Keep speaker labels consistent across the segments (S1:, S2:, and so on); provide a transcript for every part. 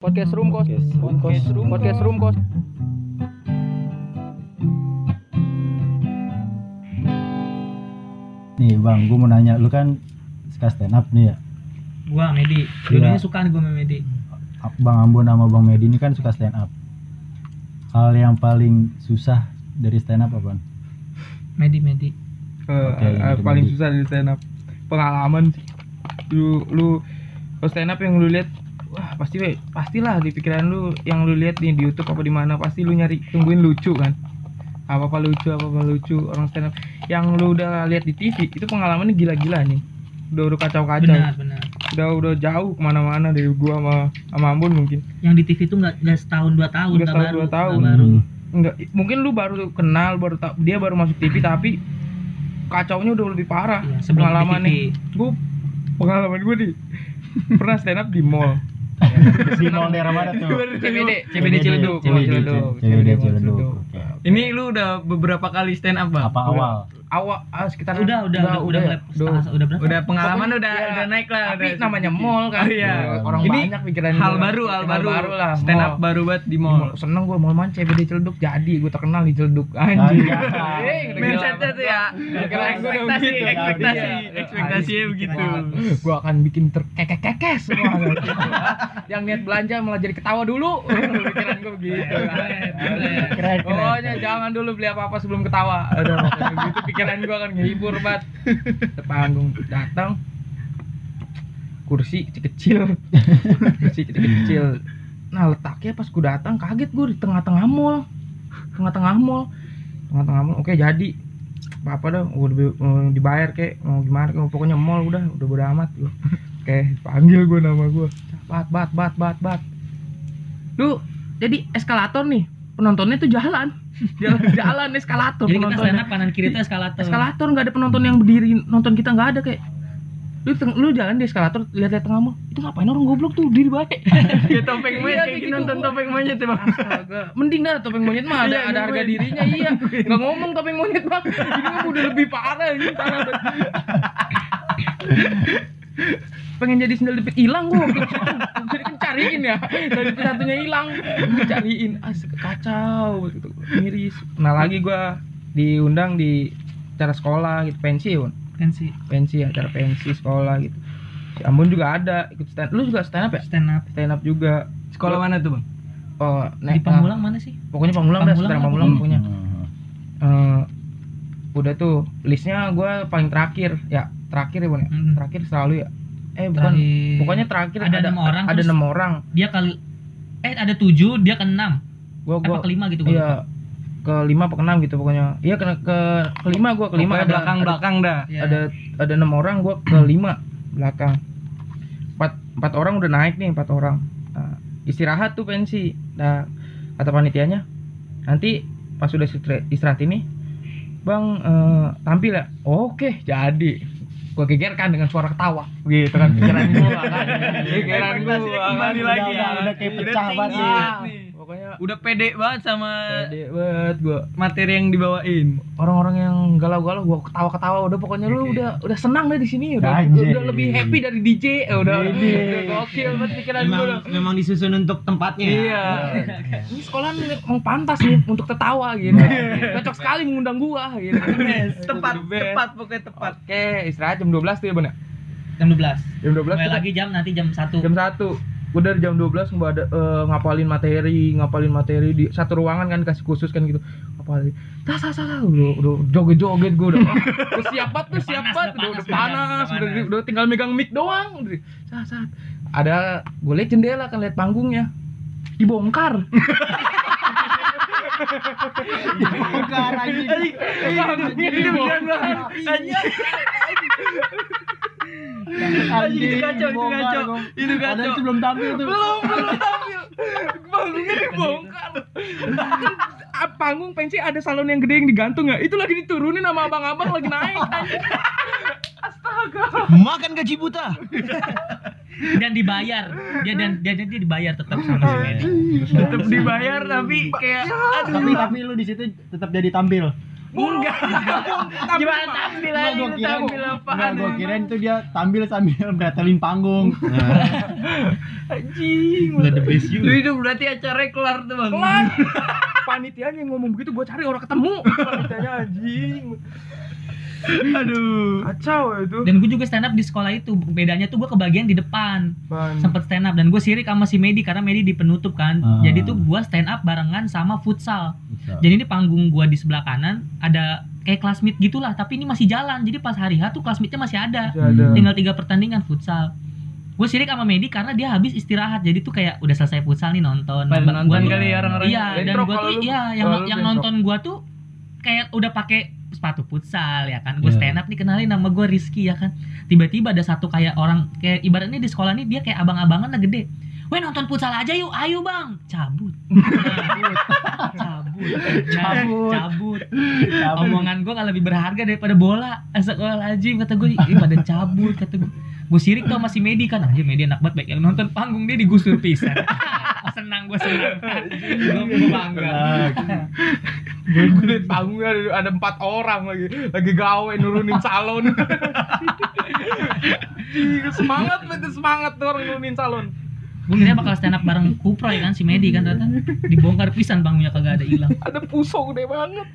S1: Podcast room kos.
S2: Podcast room kos.
S1: Podcast room, podcast room kos.
S2: Nih bang, gue mau nanya, lu kan suka stand up nih ya?
S3: gua Medi
S4: Iya.
S3: dulunya suka nih gua sama Medi
S2: Bang Ambon sama Bang Medi ini kan suka stand up. Hal yang paling susah dari stand up apa?
S3: Medi Medi
S4: Eh,
S2: Oke,
S4: eh,
S2: gitu,
S4: paling
S2: Mandi.
S4: susah dari stand up pengalaman sih lu lu kalau stand up yang lu lihat wah pasti we, pastilah di pikiran lu yang lu lihat nih di YouTube apa di mana pasti lu nyari tungguin lucu kan apa apa lucu apa apa lucu orang stand up yang lu udah lihat di TV itu pengalamannya gila-gila nih udah udah kacau-kacau
S3: benar benar
S4: udah udah jauh kemana-mana dari gua sama sama Ambon mungkin
S3: yang di TV tuh nggak nggak setahun dua tahun
S4: Nggak
S3: nggak
S4: setahun
S3: baru
S4: dua tahun.
S3: nggak baru
S2: Hmm.
S4: enggak mungkin lu baru kenal baru ta- dia baru masuk TV tapi kacaunya udah lebih parah
S3: Iya, sebelum
S4: pengalaman
S3: di TV.
S4: nih gue pengalaman gue nih pernah stand up di mall
S2: Di mall daerah mana tuh?
S4: CBD CBD Ciledug Mall
S2: CBD,
S4: Ciledug
S2: CBD,
S4: Mall
S2: Ciledug.
S4: Ciledug.
S2: Oke.
S5: Ini lu udah beberapa kali stand up, Bang?
S2: Apa awal?
S4: awal ah, sekitar
S3: udah udah udah udah
S4: ya?
S3: mulai setengah- udah berapa
S5: Udah pengalaman
S4: Pokoknya,
S5: udah
S4: ya,
S5: udah naik lah.
S4: tapi
S5: udah
S4: namanya
S5: sedikit.
S4: mall kan
S5: Oh, iya.
S4: orang
S5: Ini
S4: banyak pikiran
S5: Hal
S4: gua.
S5: baru, hal baru.
S4: lah
S5: stand up
S4: mall.
S5: baru banget di
S4: Di
S5: mall.
S4: mall. seneng gue mall man CBD Ciledug jadi gue terkenal di Ciledug anjing
S2: Ah,
S4: Eh,
S2: iya.
S4: udah gila.
S5: Mindsetnya tuh ya.
S4: kira gua udah
S5: Ekspektasi,
S4: begitu.
S5: ekspektasi,
S4: Iya.
S5: ekspektasinya begitu.
S4: gue akan bikin terkekekekes semua yang niat belanja malah jadi ketawa dulu pikiran gue begitu
S2: Keren, keren.
S4: pokoknya jangan dulu beli apa apa sebelum ketawa aduh kayak gitu pikiran gue kan ngehibur banget ke panggung datang kursi kecil kursi kecil nah letaknya pas gue datang kaget gue di tengah-tengah mall tengah-tengah mall tengah-tengah mall oke jadi apa apa dong udah bi- eh, dibayar kek mau gimana kek pokoknya mall udah udah bodo amat gua oke panggil gue nama gue bat bat bat bat bat lu jadi eskalator nih penontonnya tuh jalan jalan jalan eskalator
S3: jadi kita
S4: penontonnya
S3: stand up kanan kiri itu eskalator
S4: eskalator nggak ada penonton yang berdiri nonton kita nggak ada kayak lu teng- lu jalan di eskalator lihat lihat tengah mall itu ngapain orang goblok tuh diri baik
S5: Kayak topeng
S4: Iya,
S5: monyet,
S4: kayak
S5: kayak
S4: gitu.
S5: nonton topeng monyet ya, Bang.
S4: Astaga. Mending dah topeng monyet mah ada, ada harga dirinya iya. Enggak ngomong topeng monyet, Bang. Ini mah udah lebih parah ini parah. banget. Pengen jadi sendal jepit hilang gua. waktu itu. Jadi kan cariin ya. Sendal jepit satunya hilang. Cariin. Asik kacau gitu. Miris. Nah, lagi gua diundang di acara sekolah gitu pensiun
S3: kan sih
S4: pensi acara pensi sekolah gitu si Ambon juga ada ikut stand lu juga stand up ya
S3: stand up
S4: stand up juga
S5: Sekolah mana tuh, Bang?
S4: oh
S3: di
S4: naik
S3: Pamulang mana sih
S4: pokoknya pamulang dah
S3: Pamulang
S4: sekarang
S3: apa?
S4: pamulang pokoknya
S2: Hmm.
S4: Eh, udah tuh listnya gua paling terakhir ya terakhir ya Bon ya?
S3: Mm.
S4: terakhir selalu ya eh bukan
S3: Terakhir.
S4: pokoknya terakhir
S3: Ada enam orang,
S4: ada
S3: terus-
S4: enam orang
S3: dia kali eh ada tujuh dia ke enam
S4: gua
S3: apa
S4: Oh, gua
S3: kelima gitu gua lupa.
S4: iya ke lima apa keenam gitu pokoknya iya ke, ke kelima gua kelima ada-
S5: Pokoknya
S4: ada
S5: belakang-belakang dah.
S3: Iya.
S4: ada ada enam orang gua ke lima belakang empat empat orang udah naik nih empat orang Nah, istirahat tuh pensi nah kata panitianya nanti pas sudah istra- istirahat ini bang eh, tampil ya oke jadi gua gegerkan dengan suara ketawa gitu kan pikiran gua kan pikiran gua kan.
S5: Ekspektasinya kembali
S2: Udah,
S5: lagi
S2: udah,
S5: ya.
S2: udah kayak pecah
S5: tinggi
S2: banget
S5: banget
S4: ya.
S5: nih.
S4: pokoknya
S5: Udah pede banget sama
S4: pede banget gua
S5: materi yang dibawain.
S4: orang-orang yang galau-galau gua ketawa-ketawa udah pokoknya lu udah udah senang deh di sini
S3: Nah,
S4: udah
S2: Anjay.
S4: udah lebih happy dari DJ eh, udah
S2: Ini.
S4: udah gokil banget pikiran gua udah.
S6: memang disusun untuk tempatnya ya?
S4: iya ini sekolah memang pantas nih untuk tertawa gitu cocok sekali mengundang gua gitu
S5: Tepat, tepat pokoknya tepat.
S4: oke istirahat jam 12 tuh ya bener
S3: jam dua belas
S4: jam 12
S3: mulai
S4: kita-
S3: lagi jam nanti jam satu
S4: jam 1 gua dari jam 12 gua ada eh, ngapalin materi ngapalin materi di satu ruangan kan kasih khusus kan gitu ngapalin tas tas tas tas. udah udah joget joget gua udah gua siap banget tuh
S3: Udah
S4: siap
S3: panas,
S4: banget udah
S3: udah
S4: udah
S3: panas,
S4: panas
S3: udah
S4: udah,
S3: panas.
S4: udah tinggal megang mic doang udah sah sah ada gue liat jendela kan liat panggungnya dibongkar
S6: Bukan anjing.
S4: panggungnya
S3: iya,
S4: dibongkar
S5: Anjing, itu kacau, itu kacau. Itu kacau.
S6: Padahal itu belum tampil tuh.
S4: belum belum tampil panggungnya dibongkar Kan panggung pensi ada salon yang gede yang digantung ya itu lagi diturunin sama abang-abang lagi naik anjing. astaga
S6: Makan gaji buta.
S3: dan dibayar dia dan dia, dia, dia dibayar tetap sama si Medi
S5: Tetap dibayar tapi kayak aduh.
S6: tapi tapi lu di situ tetap jadi tampil.
S4: Enggak.
S5: Gimana tampil
S2: Enggak, gua
S5: aja itu
S2: kirain-
S5: tampil apaan
S2: Enggak, gue kirain itu dia tampil sambil beratelin panggung.
S5: Anjing
S3: Nggak Nah, the best
S5: Lu
S3: you.
S5: itu berarti acaranya kelar tuh bang
S4: Kelar. Panitianya yang ngomong begitu gua cari orang ketemu. Panitianya anjing.
S5: Aduh
S4: Kacau itu.
S3: Dan gue juga stand up di sekolah itu. Bedanya tuh gue kebagian di depan.
S4: Ban.
S3: Sempet stand up dan gue sirik sama si Medi karena Medi di penutup kan.
S2: Ah.
S3: Jadi tuh gue stand up barengan sama futsal. Jadi ini panggung gua di sebelah kanan ada kayak classmate gitulah, tapi ini masih jalan. Jadi pas hari H tuh classmate-nya masih ada.
S4: Masih ada.
S2: Hmm.
S3: Tinggal tiga pertandingan futsal. Gue sirik sama Medi karena dia habis istirahat. Jadi tuh kayak udah selesai futsal nih nonton.
S5: Pada
S3: Gua-
S5: nonton
S3: gua-
S5: kali ya orang-orang
S3: Iya, dan
S4: Bentrok
S3: gua
S4: kalau
S3: tuh
S4: lu.
S3: iya yang
S4: Kalau lu
S3: yang
S4: bentrok.
S3: nonton gua tuh kayak udah pakai sepatu futsal ya kan. Gue
S2: Iya.
S3: stand up nih kenalin nama gue Rizky ya kan. Tiba-tiba ada satu kayak orang kayak ibaratnya di sekolah nih dia kayak abang-abangan lah gede. Weh nonton futsal aja yuk, ayo bang, cabut, cabut, cabut, cabut,
S2: Cabut.
S3: cabut. Omongan gue kan lebih berharga daripada bola. Eh, Sekolah aja kata gue, ih pada cabut kata gue. Gue sirik tuh masih Medi kan aja Medi anak banget baik yang nonton panggung dia digusur pisan. senang gue senang. Gue bangga.
S4: Gue kulit panggungnya ada- ada empat orang lagi lagi gawe nurunin salon. Anjing, semangat betul semangat tuh orang nurunin salon.
S3: Gue kira bakal stand up bareng Kuproy kan si Medi kan ternyata dibongkar pisan panggungnya kagak ada hilang.
S4: Ada puso gede banget.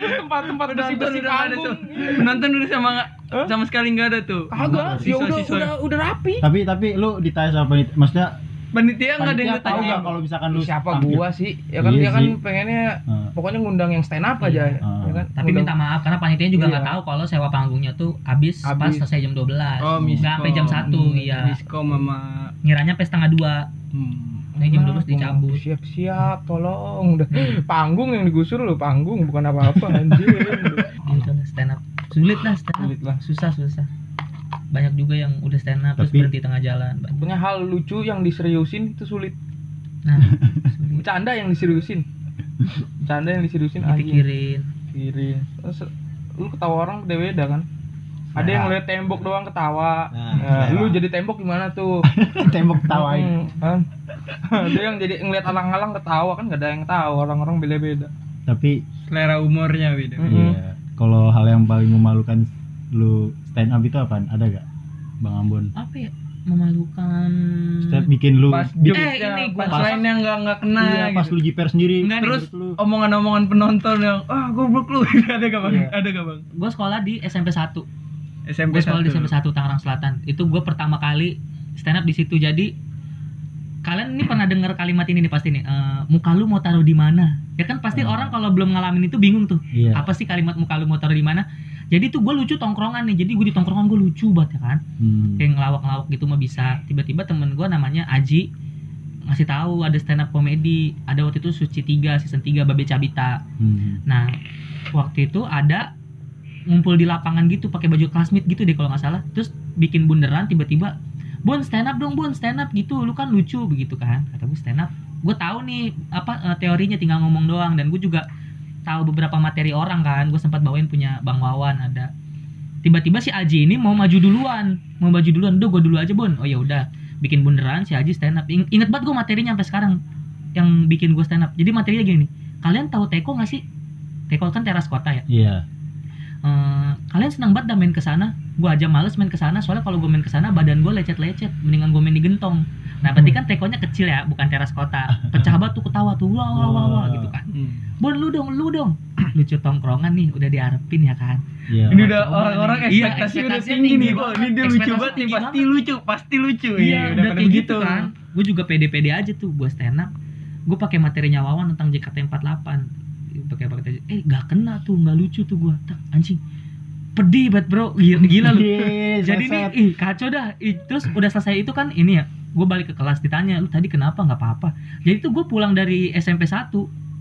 S4: Tempat-tempat besi-besi
S5: udah ada tuh
S4: panggung.
S5: Penonton udah sama
S4: Hah?
S5: sama sekali nggak ada tuh
S4: Kagak, ya udah
S5: Siswa-siswa.
S4: udah udah rapi.
S2: tapi tapi lu ditanya sama penit, maksudnya
S5: Panitia nggak ada yang
S2: panitia tahu
S5: ditanya
S2: nggak kalau misalkan lu
S4: Siapa
S2: tampil?
S4: gua sih? Ya kan
S2: Iya
S4: dia kan
S2: sih. Ah.
S4: pengennya
S2: Heeh.
S4: pokoknya ngundang yang stand up aja
S3: Iya.
S4: ya kan
S3: Tapi minta maaf karena panitia juga
S4: Iya.
S3: nggak tahu kalau sewa panggungnya tuh habis pas
S4: Habis.
S3: selesai jam 12.
S5: Oh, miskom.
S3: Nggak sampai jam 1 iya.
S5: Miskom sama
S3: Ngiranya sampai setengah 2. Nah, jam 12 dicabut.
S4: siap siap tolong udah panggung yang digusur lu panggung bukan apa apa anjir
S3: Gitu lah stand up. Sulit lah stand up.
S4: sulit lah
S3: Susah susah. Banyak juga yang udah stand up terus
S2: Tapi-
S3: berhenti tengah jalan. Banyak.
S4: punya hal lucu yang diseriusin itu sulit
S3: Nah, sulit.
S4: bercanda yang diseriusin bercanda yang diseriusin anjing
S3: dipikirin.
S4: kiri Terus, lu ketawa orang beda beda kan ada yang lihat tembok doang ketawa
S6: Nah,
S4: Nah,
S6: selera.
S4: lu jadi tembok gimana tuh
S2: tembok
S4: Hmm,
S2: tawain
S4: kan? ada yang jadi ngeliat alang-alang ketawa kan gak ada yang tahu orang-orang beda-beda
S2: tapi
S5: selera umurnya beda.
S4: Mm.
S2: Iya. Kalau hal yang paling memalukan lu stand up itu apaan? Ada gak? Bang Ambon.
S3: Apa ya? Memalukan. Eh,
S2: Stand bikin lu
S5: Pas
S2: bikin-
S5: jokesnya,
S3: ini gua-
S5: pas lainnya nggak nggak kena
S2: iya, pas lu
S5: gitu.
S2: jiper sendiri.
S5: Enggak nih, terus
S2: menurut lu.
S5: omongan-omongan penonton yang ah goblok lu ada gak bang?
S4: Iya.
S5: Ada gak bang?
S3: Gue sekolah di SMP 1.
S5: SMP
S3: Gue sekolah di SMP
S5: satu.
S3: 1 Tangerang Selatan. Itu gue pertama kali stand up di situ. Jadi kalian ini pernah dengar kalimat ini nih pasti nih. eh, muka lu mau taruh di mana? Ya kan pasti
S2: Hmm.
S3: orang kalau belum ngalamin itu bingung tuh.
S2: Iya.
S3: Apa sih kalimat muka lu mau taruh di mana? Jadi tuh gue lucu tongkrongan nih. Jadi gue di tongkrongan gue lucu banget ya kan.
S2: Hmm.
S3: Kayak ngelawak-ngelawak gitu mah bisa. Tiba-tiba temen gue namanya Aji ngasih tahu ada stand up komedi. Ada waktu itu Suci 3 season 3 Babe Cabita.
S2: Hmm.
S3: Nah, waktu itu ada ngumpul di lapangan gitu pakai baju classmate gitu deh kalau nggak salah. Terus bikin bunderan tiba-tiba, "Bon, stand up dong, Bon, stand up gitu. Lu kan lucu begitu kan." Kata gue stand up. Gue tahu nih apa eh, teorinya tinggal ngomong doang dan gue juga tahu beberapa materi orang kan. Gue sempat bawain punya Bang Wawan ada. Tiba-tiba si Aji ini mau maju duluan, mau maju duluan. Udah gue dulu aja, Bon. Oh ya udah, bikin bunderan si Aji stand up. Ing- Ingat banget gue materinya sampai sekarang yang bikin gue stand up. Jadi materinya gini nih. Kalian tahu teko nggak sih? Teko kan teras kota ya.
S2: Iya.
S3: Eh, kalian senang banget dah main ke sana. Gua aja males main ke sana soalnya kalau gua main ke sana badan gua lecet-lecet, mendingan gua main di gentong. Nah, berarti kan tekonya kecil ya, bukan teras kota. Pecah banget tuh ketawa tuh. Wah wah wah, wah gitu kan. Bon lu dong, lu dong. Lucu tongkrongan nih, udah diarepin ya kan.
S2: Iya.
S5: Ini udah
S3: Coba
S5: orang-orang
S3: nih. Iya,
S5: ekspektasi udah
S3: ekspektasinya
S5: tinggi
S3: tinggi
S5: nih. Wah,
S3: banget.
S5: ini dia lucu
S3: Ekspektasi
S5: banget nih,
S3: tinggi
S5: pasti
S3: banget.
S5: lucu, pasti lucu.
S3: Iya, udah,
S5: Oh pada
S3: kayak
S5: begitu.
S3: gitu kan. Gue juga pede-pede aja tuh buat stand up. Gue pakai materinya Wawan tentang JKT48. Pakai pakai aja. Eh, gak kena tuh, gak lucu tuh gue. Tak anjing. Pedih banget, Bro. Gila, gila lu.
S2: Iya,
S3: Jadi nih, ih, kacau dah. Ih, terus udah selesai itu kan ini ya. Gue balik ke kelas ditanya, "Lu tadi kenapa? nggak apa-apa." Jadi tuh gue pulang dari SMP 1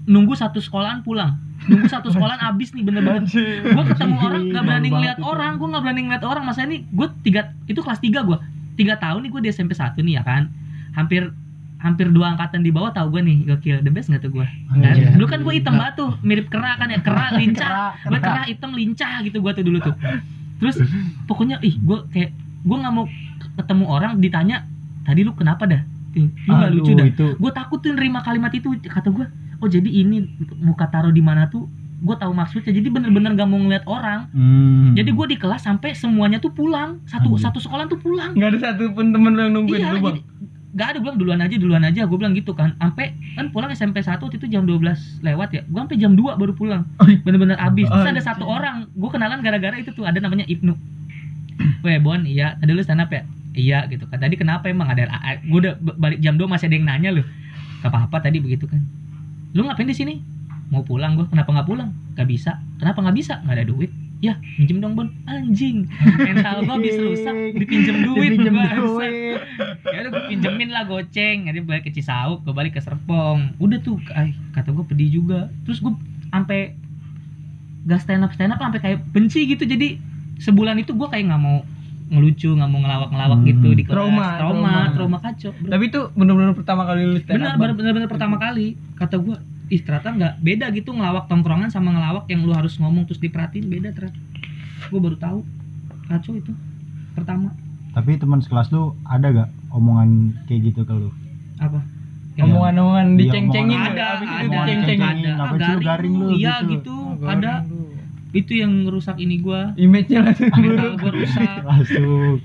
S3: nunggu satu sekolahan pulang nunggu satu sekolahan abis nih bener-bener gue ketemu orang nggak berani
S2: Malu
S3: ngeliat
S2: banget itu.
S3: orang gue nggak berani ngeliat orang masa ini gue tiga itu kelas tiga gue tiga tahun nih gue di SMP 1 nih ya kan hampir hampir dua angkatan di bawah tau gue nih gokil the best nggak tuh gue kan?
S2: Iya.
S3: dulu kan gue hitam batu mirip kera kan ya kera lincah gue cerah hitam lincah gitu gua tuh dulu tuh terus pokoknya ih gua kayak gua nggak mau ketemu orang ditanya tadi lu kenapa dah Ih, lu nggak
S2: Aduh,
S3: Iya, lucu dah
S2: itu.
S3: gue takut tuh nerima kalimat itu kata gua oh jadi ini muka taruh di mana tuh gue tahu maksudnya jadi bener-bener gak mau ngeliat orang
S2: Hmm.
S3: jadi gue di kelas sampai semuanya tuh pulang satu
S2: Anjir.
S3: satu sekolah tuh pulang
S5: Gak ada satupun temen lo yang nungguin
S3: iya
S5: lu
S3: jadi
S5: bang
S3: gak ada gue bilang duluan aja duluan aja gue bilang gitu kan sampai kan pulang SMP 1 waktu itu jam 12 lewat ya gue sampai jam 2 baru pulang
S5: Oh, iya.
S3: bener-bener abis terus ada satu orang gue kenalan gara-gara itu tuh ada namanya Ibnu weh Bon iya ada lu stand up ya iya gitu kan tadi kenapa emang ada gue udah b- balik jam 2 masih ada yang nanya lu gak apa-apa tadi begitu kan lu ngapain di sini mau pulang gue kenapa nggak pulang gak bisa kenapa nggak bisa nggak ada duit ya minjem dong Bon anjing mental gue habis rusak dipinjem duit
S7: Pinjem
S3: bangsa
S7: duit.
S3: ya udah gue pinjemin lah goceng jadi balik ke Cisauk gue balik ke Serpong udah tuh ay, kata gue pedih juga terus gue sampai gak stand up stand up sampai kayak benci gitu jadi sebulan itu gue kayak nggak mau ngelucu nggak mau ngelawak ngelawak
S2: Hmm.
S3: gitu di kelas
S5: Trauma,
S3: trauma,
S5: trauma.
S3: trauma kacau bro.
S5: Tapi itu bener-bener pertama kali lu stand
S3: benar
S5: up Bang.
S3: benar benar pertama kali kata gue ih ternyata nggak beda gitu ngelawak tongkrongan sama ngelawak yang lu harus ngomong terus diperhatiin beda ternyata gue baru tahu kacau itu pertama
S2: Tapi teman sekelas lu ada gak omongan kayak gitu ke lu?
S3: apa Yang-
S5: Omongan-omongan
S2: Iya,
S5: diceng-cengin
S2: omongan.
S5: ya,
S3: ada
S5: abis itu
S3: ada
S5: diceng-cengin.
S2: diceng-cengin. Ngapain sih lu garing lu,
S3: iya
S2: gitu.
S3: gitu, ada itu yang rusak ini gua
S5: Image-nya langsung
S3: mental
S5: buruk
S3: gua rusak
S2: Langsung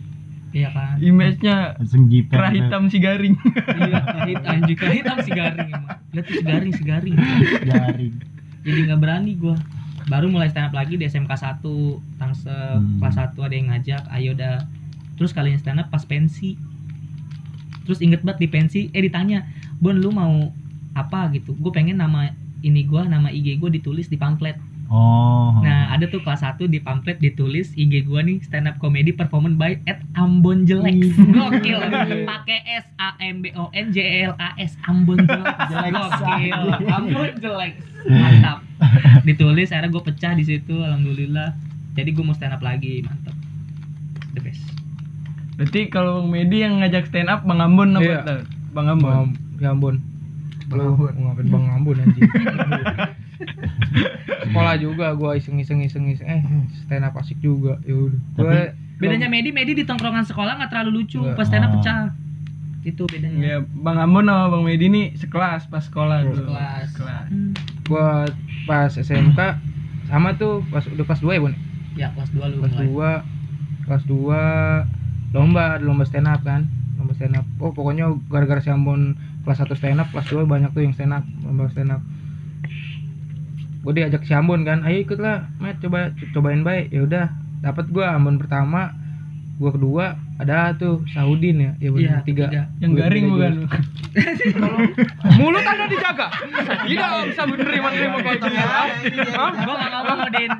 S3: iya kan
S5: Image-nya
S2: langsung jiper.
S5: kerah hitam si garing
S3: iya kahit anjing kahit am si garing emang lihat tuh si garing si garing
S2: Garing.
S3: jadi nggak berani gua baru mulai stand up lagi di SMK 1 tangse
S2: Hmm.
S3: kelas 1 ada yang ngajak ayo dah terus kalian stand up pas pensi terus inget banget di pensi eh ditanya Bon lu mau apa gitu gue pengen nama ini gua nama IG gua ditulis di pamflet
S2: Oh.
S4: Hmm.
S3: Nah, ada tuh kelas 1 di pamflet ditulis IG gua nih stand up comedy performance by at Ambon Jelek. Gokil. Pakai S A M B O N J E L A S Ambon Jelek.
S2: Jelek
S3: Gokil. Ambon Jelek. Mantap. Ditulis akhirnya gue pecah di situ alhamdulillah. Jadi gue mau stand up lagi, mantap. The best.
S5: Berarti kalau Bang Medi yang ngajak stand up Bang Ambon apa
S4: Iya.
S5: tuh? Bang Ambon
S4: ya ampun
S5: Bang Ambon
S4: ngapain bang Ambon anjing sekolah juga gua iseng iseng iseng iseng eh stand up asik juga ya udah gue
S3: Bedanya Medi, Medi di tongkrongan sekolah nggak terlalu lucu,
S4: Nggak. Iya,
S3: pas stand up
S2: Oh.
S3: pecah. Itu bedanya.
S5: Ya, Bang Ambon sama Bang Medi nih sekelas pas sekolah dulu.
S3: Sekelas.
S5: Sekelas.
S3: Hmm.
S4: buat pas SMK sama tuh pas udah kelas 2 ya Bon
S3: Ya kelas 2 lu
S4: kelas
S3: mulai.
S4: dua kelas dua lomba ada lomba stand up kan lomba stand up oh pokoknya gara-gara si Ambon kelas 1 stand up kelas 2 banyak tuh yang stand up lomba stand up gue diajak si Ambon kan ayo ikutlah Matt coba co- cobain baik ya udah dapat gua Ambon pertama gua kedua ada tuh Saudin ya ya bener,
S3: Iya,
S4: tiga
S3: ketiga.
S5: Yang
S4: Gua
S5: garing
S4: ketiga,
S5: bukan?
S4: gua.
S5: lu?
S4: mulut anda dijaga tidak bisa menerima terima kotoran
S3: Gua gak ngomong, Din.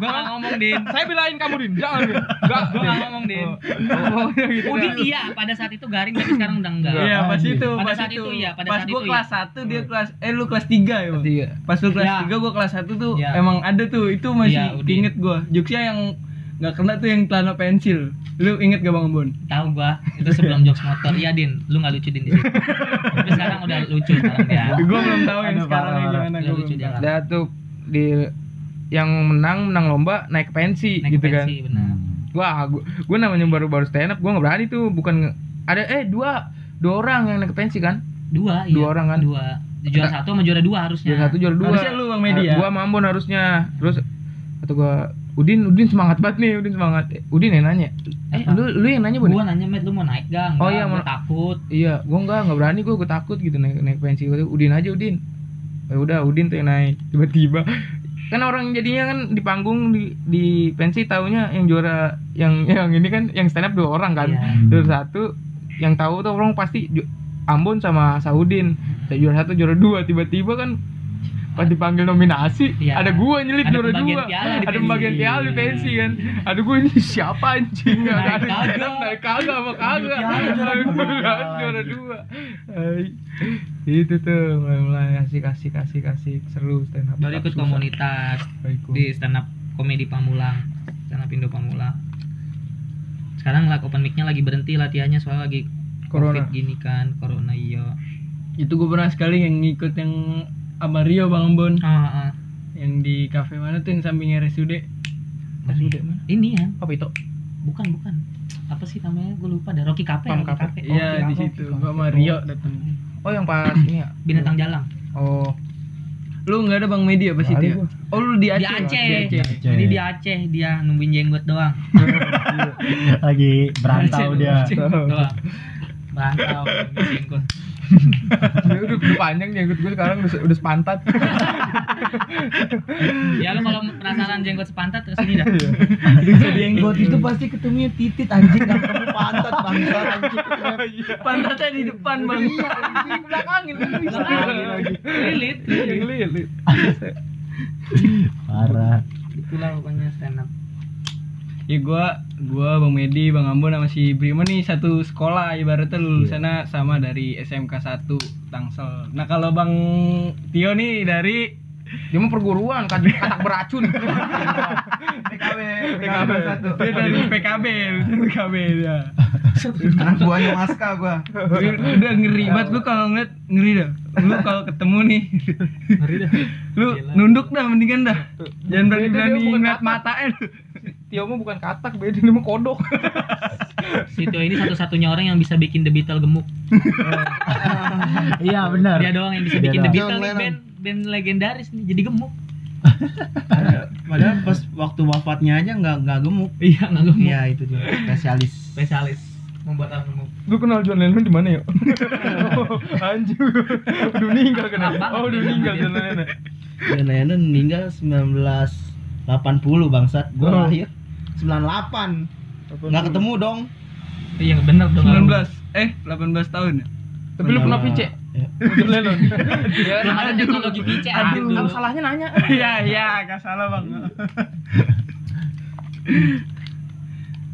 S3: Gua gak ngomong, Din.
S4: saya belain kamu din jangan din enggak
S3: Gua gak ngomong,
S4: Oh.
S3: Din.
S4: ngomongnya gitu
S3: Udin iya pada saat itu garing tapi sekarang udah enggak.
S5: Iya, pas
S4: Anjing. Hmm.
S5: itu,
S3: Pada
S5: pas
S3: saat itu, iya, pada
S5: pas
S3: saat
S5: gua
S3: itu, iya.
S5: kelas 1 dia kelas eh lu kelas 3 ya, Bang?
S4: Tiga.
S5: Pas lu kelas
S3: Ya.
S5: 3 gua kelas 1 tuh
S3: Ya.
S5: emang ada tuh itu masih
S3: Ya, Udin.
S5: inget gua. Jokesnya yang nggak kena tuh yang celana pensil. Lu inget gak Bang Ambon?
S3: Tahu gua itu sebelum jokes motor. Iya Din, lu nggak lucu Din di situ. Tapi sekarang udah lucu sekarang ya.
S5: gua belum tahu yang
S2: Aduh,
S5: sekarang
S2: parah,
S5: yang
S2: parah.
S5: gimana
S3: Udah
S5: gua.
S3: lucu
S5: belum
S3: dia
S5: tahu.
S3: lah.
S4: Ada tuh di yang menang menang lomba naik ke pensi
S3: Naik
S4: gitu
S3: pensi
S4: kan.
S2: Hmm.
S3: benar.
S4: Wah, gua, gua namanya baru-baru stand up, gua nggak berani tuh, bukan nge- ada eh dua dua orang yang naik ke pensi kan.
S3: Dua iya.
S4: Dua orang kan?
S3: Dua. Juara satu sama juara dua harusnya.
S4: Juara satu juara dua.
S5: Nah.
S4: Nah,
S5: Harusnya lu Bang Medi ya.
S4: Gua sama Ambon harusnya. Terus atau gua Udin Udin semangat banget nih, Udin semangat. Eh, Udin yang nanya. Eh,
S3: Apa?
S4: lu lu yang nanya, Bun.
S3: Gua nanya Met lu mau naik gang?
S4: Oh,
S3: Nggak,
S4: iya,
S3: gua
S4: mau-
S3: takut.
S4: Iya, gua nggak nggak berani gua, gua takut gitu naik naik pensi. Gua tuh, Udin aja Udin. Ya udah Udin tuh yang naik tiba-tiba. Kan orang jadinya kan di panggung di di pensi taunya yang juara yang yang ini kan yang stand up dua orang kan.
S3: Iya.
S4: Juara satu yang tahu tuh orang pasti ju- Ambon sama Saudin. Dan Juara satu juara dua tiba-tiba kan pas dipanggil nominasi
S3: Iya.
S4: ada gua nyelip
S3: Ada
S4: juara
S3: pembagian
S4: dua
S3: piala di
S4: ada
S3: pensi.
S4: pembagian piala di pensi kan ada gua ini siapa anjing
S3: Naik
S4: ada
S3: kagak.
S4: ada naik kagak apa kagak
S3: Juara
S4: juara dua Hai. itu tuh mulai mulai asik asik asik asik seru stand up
S3: Baru ikut
S4: Susah.
S3: komunitas
S4: Baru ikut.
S3: di stand up komedi Pamulang, stand up Indo Pamulang. Sekarang lah open mic-nya lagi berhenti latihannya soalnya lagi
S4: Corona.
S3: COVID gini kan, corona iya.
S5: Itu gua pernah sekali yang ngikut yang sama Rio Bang Ambon
S3: Ah, ah.
S5: yang di kafe mana tuh yang samping RSUD.
S4: Mas Ude mana?
S3: Ini ya,
S4: apa itu
S3: bukan bukan. Apa sih namanya? Gue lupa. Ada Rocky Cafe.
S4: Pam
S3: Rocky
S4: Cafe.
S3: Cafe.
S5: Iya,
S4: Oke,
S5: di
S4: apa?
S5: situ. Gua sama Rio datang.
S4: oh yang pas ini ya
S3: Binatang Jalang.
S4: oh
S5: Lu nggak ada Bang Medi apa sih
S4: Nggak ada
S5: itu? ya?
S4: gua.
S5: Oh lu di Aceh.
S3: Di Aceh.
S5: Di Aceh.
S3: Jadi di Aceh dia nungguin jenggot doang.
S2: lagi berantau
S3: Aceh,
S2: dia
S3: Aceh doang. Berantau nungguin jenggot.
S4: Dia udah udah panjang jenggot gue sekarang udah, udah sepantat.
S3: Ya lu kalau penasaran jenggot sepantat terus ini dah.
S6: Jenggot itu pasti ketemunya titit anjing kan kamu pantat bangsa anjing.
S5: Pantatnya di depan Bang.
S4: Belakangin Iya
S3: Belakangin. Lilit.
S4: lilit.
S2: parah
S3: Itulah pokoknya stand up.
S5: ya gua gua Bang Medi, Bang Ambon sama si Brimo nih satu sekolah ibaratnya lulusannya
S4: Iya.
S5: sama dari SMK 1 Tangsel. Nah, kalau Bang Tio nih dari
S4: Dia mau perguruan kat- katak beracun.
S6: PKB
S5: PKB
S6: satu.
S5: Dia dari PKB, lulusan PKB ya.
S6: Anak buahnya Maska gua.
S5: Udah ngeri banget gua kalau ngeliat ngeri dah. Lu kalau ketemu nih,
S3: Ngeri dah.
S5: lu
S3: Gila.
S5: nunduk dah mendingan dah.
S4: Beda
S5: Jangan
S4: dia
S5: berani-berani
S4: bukan
S5: ngeliat eh,
S4: katak.
S5: matanya. lu.
S4: Tio mah bukan katak, beda dia mah kodok.
S3: Sito ini satu-satunya orang yang bisa bikin The Beatles gemuk.
S2: iya benar
S3: Dia doang yang bisa
S2: Dia
S3: bikin The
S2: doang.
S3: Beatles
S6: John
S3: nih,
S6: Lennon.
S3: band band legendaris nih jadi gemuk.
S6: Padahal pas waktu wafatnya aja nggak nggak gemuk.
S3: Iya, nggak gemuk.
S6: Iya itu dia spesialis.
S3: Spesialis membuat orang gemuk.
S4: Lu kenal John Lennon di mana ya? Anjir. Udah meninggal kan?
S3: Kenapa?
S4: Oh, udah meninggal John Lennon.
S6: Dan Lennon meninggal 1980 bangsat. Gua
S4: Oh.
S6: lahir 98. Nggak ketemu dong.
S3: Iya, bener dong.
S5: 19 eh 18 tahun ya.
S4: Tapi lu
S2: Iya.
S4: pernah pice?
S6: Ya.
S4: John Lennon.
S2: ya.
S3: Belum ada teknologi pice anjir
S4: Aduh,
S3: dulu.
S4: Eh, salahnya nanya.
S5: Iya, iya, gak salah, Bang.
S4: Nah,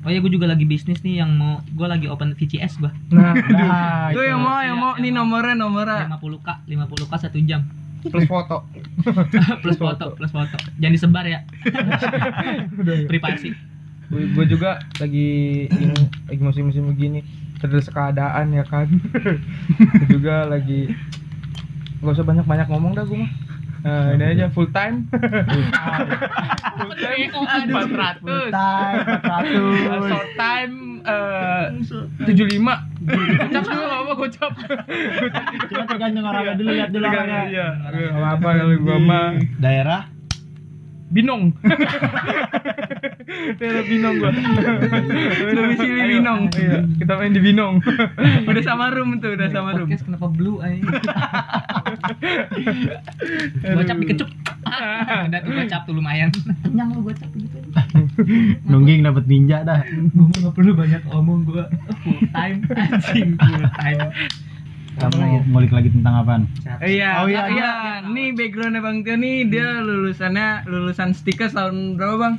S3: Oh iya, gue juga lagi bisnis nih yang mau gue lagi open VCS bah.
S4: Nah, nah
S5: Itu yang mau,
S3: Iya,
S5: yang mau
S3: yang
S5: nih
S3: mau.
S5: nomornya,
S2: Nah.
S5: nomornya.
S3: 50k, 50k satu jam.
S4: plus foto.
S3: plus foto, plus foto. Jangan disebar ya, privasi.
S4: Gue juga lagi ini lagi musim-musim begini terus keadaan ya kan. Gua juga lagi gak usah banyak-banyak ngomong dah gue mah. Nah, ini aja full time. full time. Empat ratus.
S5: Uh,
S4: Short time tujuh lima. Gocap dulu nggak apa gocap.
S2: cuma tergantung orangnya dulu lihat dulu orangnya
S4: Iya. Gak apa kalau gue mah
S6: Daerah
S4: binong. Daerah binong gue.
S5: Domisili Binong.
S4: Iya. Kita main di binong.
S5: Udah sama room tuh, udah sama room.
S3: Podcast kenapa blue ay? gocap dikecup. Ah, Udah tuh gocap tuh lumayan. Kenyang lu gocap gitu.
S2: nungging dapat ninja dah
S3: Gue nggak perlu banyak omong gue full time anjing full time.
S2: kamu ngulik lagi tentang apaan
S5: Iya,
S6: Oh,
S5: iya,
S6: iya,
S5: iya. Nih backgroundnya Bang Tio nih, dia lulusannya lulusan stikers tahun berapa Bang?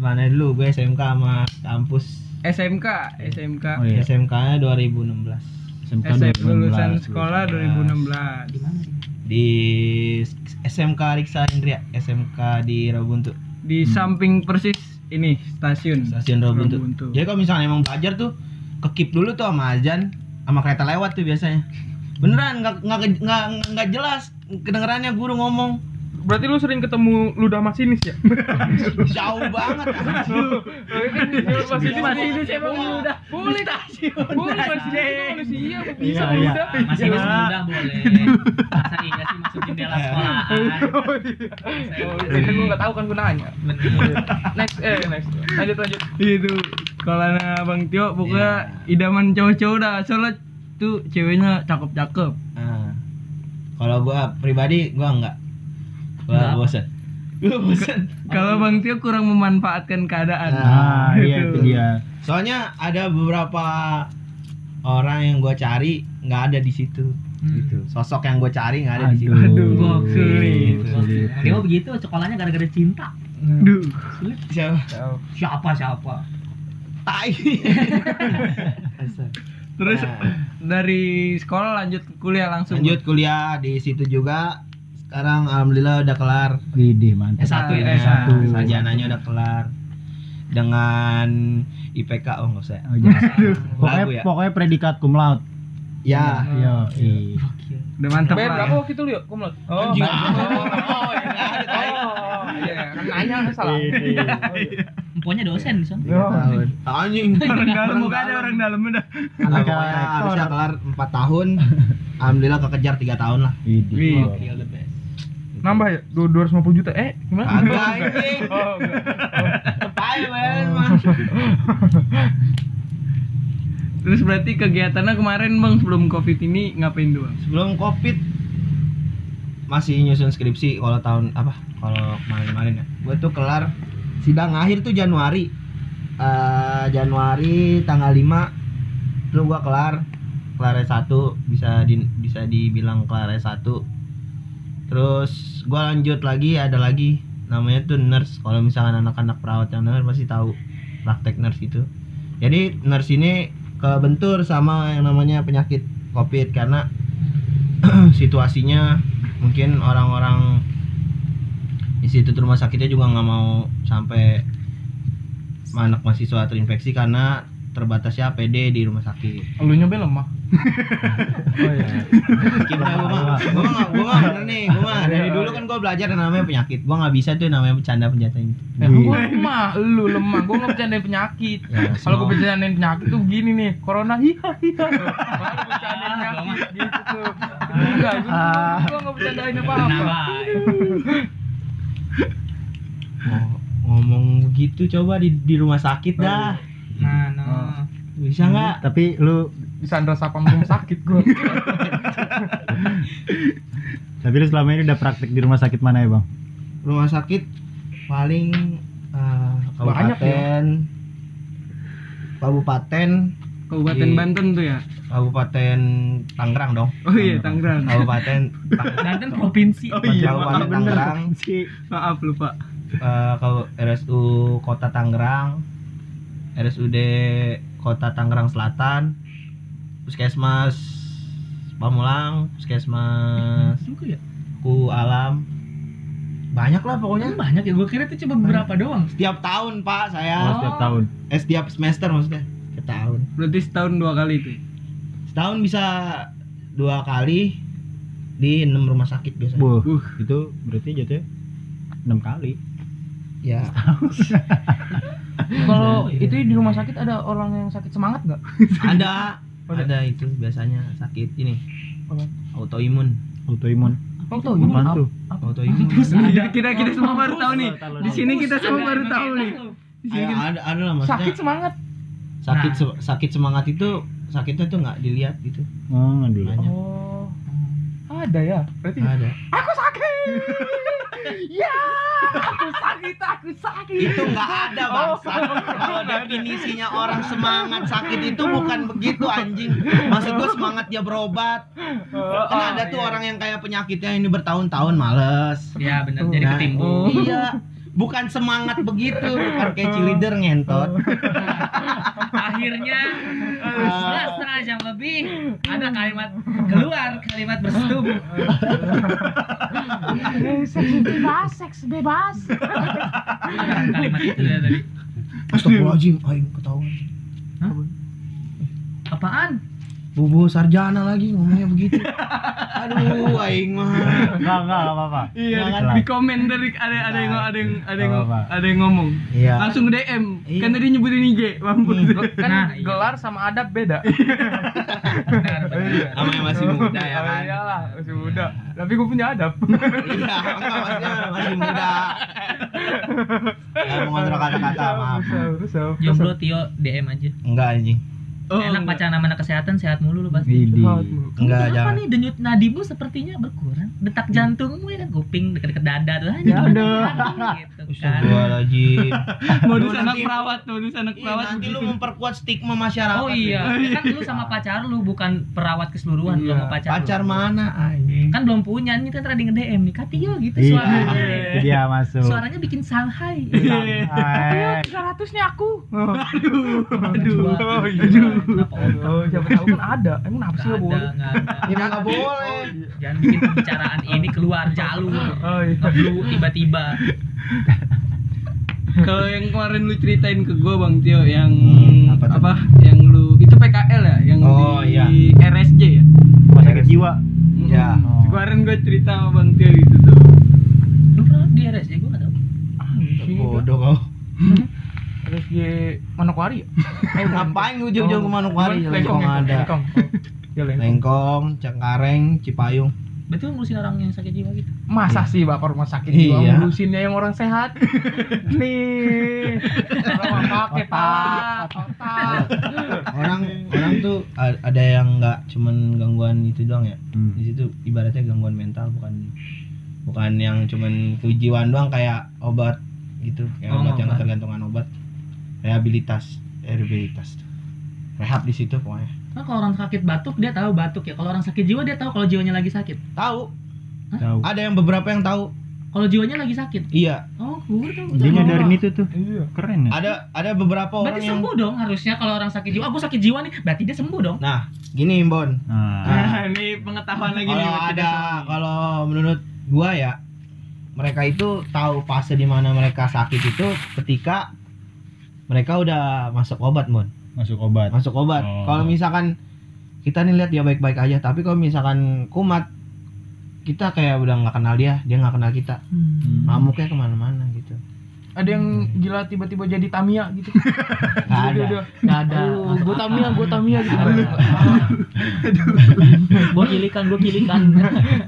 S6: mana dulu gue SMK sama kampus
S5: SMK, SMK.
S2: oh iya
S6: SMK-nya 2016
S2: SMK
S5: SM,
S2: 2016.
S5: lulusan sekolah 2016.
S3: Gimana sih?
S6: di SMK Riksa Indria SMK di Rabuntu
S5: Di
S2: Hmm.
S5: samping persis ini stasiun.
S6: stasiun Rabuntu.
S5: Rabuntu.
S6: Jadi kalau misalnya emang belajar tuh kekip dulu tuh sama azan sama kereta lewat tuh biasanya. Beneran nggak nggak ke- nggak nggak jelas kedengerannya guru ngomong
S4: Berarti lu sering ketemu ludah masinis ya?
S6: jauh banget. anjing.
S4: kan Masinis
S5: Masinis emang ludah.
S4: Boleh Boleh masinis manusia bisa
S2: Iya, iya.
S4: ludah.
S3: Masih
S4: Iya.
S3: masih muda boleh. Masa iya sih masuk jendela sekolahan.
S4: Oh, ini gue nggak tahu kan gue nanya.
S3: Bener.
S4: Next, eh next. Lanjut lanjut.
S5: Itu sekolahnya Bang Tio pokoknya
S6: Iya.
S5: idaman cowok-cowok dah. Soalnya tuh ceweknya cakep-cakep.
S6: Ah. Kalau gua pribadi gua nggak. Gua
S3: Nggak.
S6: bosen. Gua bosen.
S5: Kalau Bang Tio kurang memanfaatkan keadaan.
S2: nah iya itu dia
S6: Soalnya ada beberapa orang yang gua cari nggak ada di situ.
S3: Hmm.
S6: Gitu. Sosok yang gua cari nggak ada di situ.
S5: Aduh,
S3: sulit.
S2: sulit.
S3: Dia mah begitu sekolahnya gara-gara cinta.
S5: Duh.
S6: Siapa?
S3: Siapa siapa?
S6: Tai.
S3: Iya.
S5: Terus
S6: Nah.
S5: dari sekolah lanjut ke kuliah langsung.
S6: lanjut kuliah di situ juga sekarang alhamdulillah udah kelar
S2: Widih mantap.
S3: S1 ya.
S5: Eh,
S2: S1.
S6: sarjananya udah kelar dengan IPK oh nggak usah
S2: Oh, jangan. pokoknya,
S6: Lagu ya?
S2: pokoknya predikat cum laude. Iya,
S6: ya
S2: Yo, i.
S5: Udah mantap
S4: Bayar berapa
S5: lah.
S4: waktu itu lu ya? Kumlot. Oh,
S6: Anjing.
S4: oh, oh, iya. Oh, iya. Kan nanya kan salah.
S3: Emponya dosen di sana.
S6: Tiga tahun anjing
S5: Orang dalam bukan ada orang dalam udah.
S6: Nah,
S2: Anak
S6: pokoknya
S2: rektor.
S6: harusnya kelar 4 tahun alhamdulillah kekejar 3 tahun lah
S2: Widih.
S5: Wih.
S3: Gokil, the best.
S4: Nambah ya? Du- 250 juta? Eh, gimana?
S6: Kagak anjing.
S4: Oh, enggak.
S6: Kepai men, mah.
S5: Terus berarti kegiatannya kemarin bang sebelum covid ini ngapain doang?
S6: Sebelum Covid masih nyusun skripsi kalau tahun apa? Kalau kemarin-kemarin ya. Gue tuh kelar sidang akhir tuh Januari. Eh, Januari tanggal 5 tuh gua kelar kelar S1 bisa di, bisa dibilang kelar S1. Terus gua lanjut lagi ada lagi namanya tuh nurse. Kalau misalkan anak-anak perawat yang denger pasti tahu praktek nurse itu. Jadi nurse ini kebentur sama yang namanya penyakit COVID karena situasinya mungkin orang-orang institut rumah sakitnya juga nggak mau sampai anak mahasiswa terinfeksi karena terbatasnya APD di rumah sakit.
S4: Lu nyobel lemah.
S2: Oh iya.
S6: Kita gua mah gua mah gua mah bener nih, gua mah dari dulu kan gua belajar yang namanya penyakit. Gua nggak bisa tuh namanya bercanda penjata itu.
S4: Eh, gua lemah, lu lemah. Gua nggak bercandain penyakit.
S6: Iya. Ya,
S4: Kalau
S6: semua-
S4: gua bercandain penyakit tuh begini nih, corona hiha hiha. Kalau gua
S3: Ah,
S4: bercandain penyakit gitu tuh. Enggak, gua,
S6: Ah.
S4: gua nggak bercandain
S3: Tenang,
S4: apa-apa.
S3: Bay.
S6: Oh, ngomong begitu coba di di rumah sakit dah.
S4: Nah, nah.
S6: Bisa nggak?
S2: Tapi lu
S4: Disandra sapam rumah sakit gua.
S2: tapi lu selama ini udah praktik di rumah sakit mana ya, Bang?
S6: Rumah sakit paling eh,
S4: Banyak ya.
S6: kabupaten kabupaten
S5: Kabupaten
S6: Di-
S5: Banten tuh ya?
S6: Kabupaten Tangerang dong.
S5: Oh iya Tangerang.
S6: Kabupaten
S3: Oh.
S6: Tangerang.
S3: Banten Nah, kan provinsi.
S5: Oh iya,
S6: Kabupaten
S5: maaf, bener.
S6: Tangerang,
S5: Maaf lupa.
S6: eh, Kau- RSU Kota Tangerang, RSUD Kota Tangerang Selatan, Puskesmas Pamulang, Puskesmas
S3: Juga ya.
S6: Ku Alam. Banyak lah
S3: Kan
S6: pokoknya.
S3: banyak ya. Gue kira tuh cuma beberapa doang.
S6: Setiap tahun, Pak,
S2: Oh,
S6: saya.
S2: setiap tahun.
S6: Eh, setiap semester maksudnya. Setiap tahun.
S5: Berarti setahun dua kali itu. ya?
S6: Setahun bisa dua kali di enam rumah sakit biasanya.
S2: Buh,
S5: Uh.
S2: itu gitu, berarti jatuhnya 6 kali.
S6: Ya.
S4: Kalau itu di rumah sakit ada orang yang sakit semangat nggak?
S6: ada
S4: Ada.
S6: ada itu biasanya sakit ini
S4: Apa?
S6: autoimun
S2: Autoimun.
S4: Kamu tahu ya?
S2: Apaan
S4: gimana?
S2: tuh?
S6: autoimun
S5: Iya, Kita kita semua baru tahu nih.
S2: Tahu,
S5: Di
S2: tahu.
S5: sini kita semua
S3: Ada
S5: baru
S3: yang
S5: tahu nih. Di sini
S6: Ada-
S5: kita-
S6: Iya, ada ada lah
S4: gitu. Sakit
S6: maksudnya
S4: semangat.
S6: sakit
S3: Nah.
S6: se- sakit semangat itu sakitnya tuh nggak dilihat gitu
S2: Oh, ngadu.
S3: Ya.
S6: banyak
S4: Oh. Ada ya. Berarti
S6: ada
S4: aku sakit. ya, aku sakit, aku sakit.
S6: itu nggak ada
S4: Oh.
S6: bangsa kalau definisinya orang semangat sakit itu bukan begitu anjing maksud gua semangat dia berobat
S4: Oh.
S6: kan ada tuh
S4: iya.
S6: orang yang kayak penyakitnya ini bertahun-tahun males
S3: Ya benar. Jadi
S6: Nah,
S3: ketimbun.
S4: oh.
S6: iya bukan semangat begitu bukan kayak cheerleader ngentot
S4: Oh.
S3: Akhirnya
S5: Eh,
S3: setelah setengah jam lebih ada kalimat keluar kalimat bersetubuh. Iya.
S4: Eh, seks bebas, seks bebas.
S3: Kan kalimat itu ya tadi.
S6: Astagfirullahaladzim, aing ketahuan.
S3: Apaan?
S6: Bobo sarjana lagi ngomongnya begitu. Aduh, aing mah.
S2: Enggak, enggak enggak apa-apa.
S5: Iya,
S2: Jangan.
S5: di- di komen dari ada ada yang ada yang ada yang
S2: Apa-apa.
S5: ada yang ngomong.
S6: Iya.
S5: Langsung DM.
S6: Iya.
S5: Kan tadi nyebutin IG, mampus.
S4: Kan
S3: Nah, iya.
S4: gelar sama adab beda.
S6: Iya,
S3: Benar,
S4: Iya.
S3: benar.
S6: Namanya masih muda ya
S4: Oh,
S6: kan.
S4: Iyalah, masih muda. Tapi gue punya adab.
S6: Iya, enggak maksudnya masih muda. Ya mengontrak kata-kata, maaf.
S4: Iya,
S3: Jomblo Tio DM aja.
S6: Enggak anjing.
S5: Oh,
S3: Enak pacaran sama anak kesehatan sehat mulu lu
S4: Iya.
S3: pasti.
S2: Widih.
S3: Kamu
S6: Enggak,
S3: kenapa
S6: jangan.
S3: nih denyut nadimu sepertinya berkurang? Detak
S4: Iya.
S3: jantungmu ya kan kuping deket-deket dada tuh aja.
S2: Ya udah.
S3: Gitu kan.
S6: Astagfirullahaladzim.
S5: modus
S6: Lu
S5: anak
S6: nanti-
S5: perawat, modus anak
S6: Ih,
S5: perawat.
S6: Nanti lu memperkuat stigma masyarakat.
S3: Oh iya,
S5: Iya.
S3: kan lu sama pacar lu bukan perawat keseluruhan, lu
S4: Iya.
S3: sama pacar. lu.
S6: Pacar mana anjing?
S3: Kan belum punya, ini kan tadi nge-DM nih, Katio gitu
S2: Iya,
S3: suaranya.
S2: itu dia masuk.
S3: Suaranya bikin Iya, Shanghai.
S4: Ayo,
S2: Santai.
S4: 300 nih aku.
S3: Aduh.
S4: Oh, iya.
S3: Kenapa otak?
S4: Oh, siapa tahu kan ada. Emang apa sih nggak
S3: Nggak ada,
S4: boleh?
S3: nggak ada.
S6: Ya enggak boleh.
S3: Jangan bikin pembicaraan ini keluar jalur.
S4: Oh, iya.
S3: Ngeblu tiba-tiba.
S5: Kalau yang kemarin lu ceritain ke gua Bang Tio yang
S6: Hmm, apa
S5: apa,
S6: tuh?
S5: yang lu itu PKL ya yang
S6: Oh,
S5: di
S6: iya.
S5: RSJ ya.
S2: Rumah sakit jiwa.
S6: Ya.
S1: Hmm.
S5: Mm-mm. Kemarin gua cerita sama Bang Tio itu tuh.
S3: Lu pernah di RSJ gua nggak tahu.
S6: Bodoh kau.
S4: Terus di Manokwari ya? Eh,
S6: Ngapain lu jauh-jauh ke Manokwari?
S4: Lengkong
S6: Lengkong ada. Iya,
S4: Lengkong. Ya, Lengkong.
S6: Lengkong, Cengkareng, Cipayung.
S3: Berarti lu ngurusin orang yang sakit jiwa gitu.
S4: Masa sih bakal rumah sakit jiwa
S6: Iya.
S4: ngurusinnya yang orang sehat? Nih. Orang mah pakai pak, otak.
S6: orang orang tuh a- ada yang nggak cuman gangguan itu doang ya
S2: Hmm.
S6: di situ ibaratnya gangguan mental bukan bukan yang cuman kejiwaan doang kayak obat gitu kayak
S3: Oh,
S6: obat yang
S3: obat.
S6: ketergantungan obat rehabilitas rehabilitas rehab di situ pokoknya
S3: Kan kalau orang sakit batuk dia tahu batuk ya. Kalau orang sakit jiwa dia tahu kalau jiwanya lagi sakit.
S6: tahu
S2: Tahu.
S6: ada yang beberapa yang tahu
S3: Kalau jiwanya lagi sakit.
S6: iya
S3: Oh, gue baru tahu.
S2: Dia
S3: Tahu.
S2: nyadarin itu tuh. Keren ya.
S6: ada ada beberapa orang
S3: Berarti
S6: yang
S3: sembuh dong harusnya kalau orang sakit jiwa. Aku sakit jiwa nih, berarti dia sembuh dong.
S6: nah gini Bon
S2: Nah,
S1: Nah, ini pengetahuan lagi nih.
S6: Ah. kalau
S1: buat kita
S6: ada
S1: semua.
S6: kalau menurut gua ya mereka itu tahu fase di mana mereka sakit itu ketika mereka udah masuk obat mon
S2: masuk obat.
S6: masuk obat
S2: Oh.
S6: kalau misalkan kita nih lihat dia baik-baik aja tapi kalau misalkan kumat kita kayak udah nggak kenal dia dia nggak kenal kita
S2: Hmm.
S6: ngamuknya kemana-mana gitu
S4: Ada yang gila tiba-tiba jadi Tamia gitu.
S6: nggak ada
S3: Nggak ada.
S4: Aduh, gua Tamia, gua Tamia gitu.
S3: Gue kilikan, gue kilikan.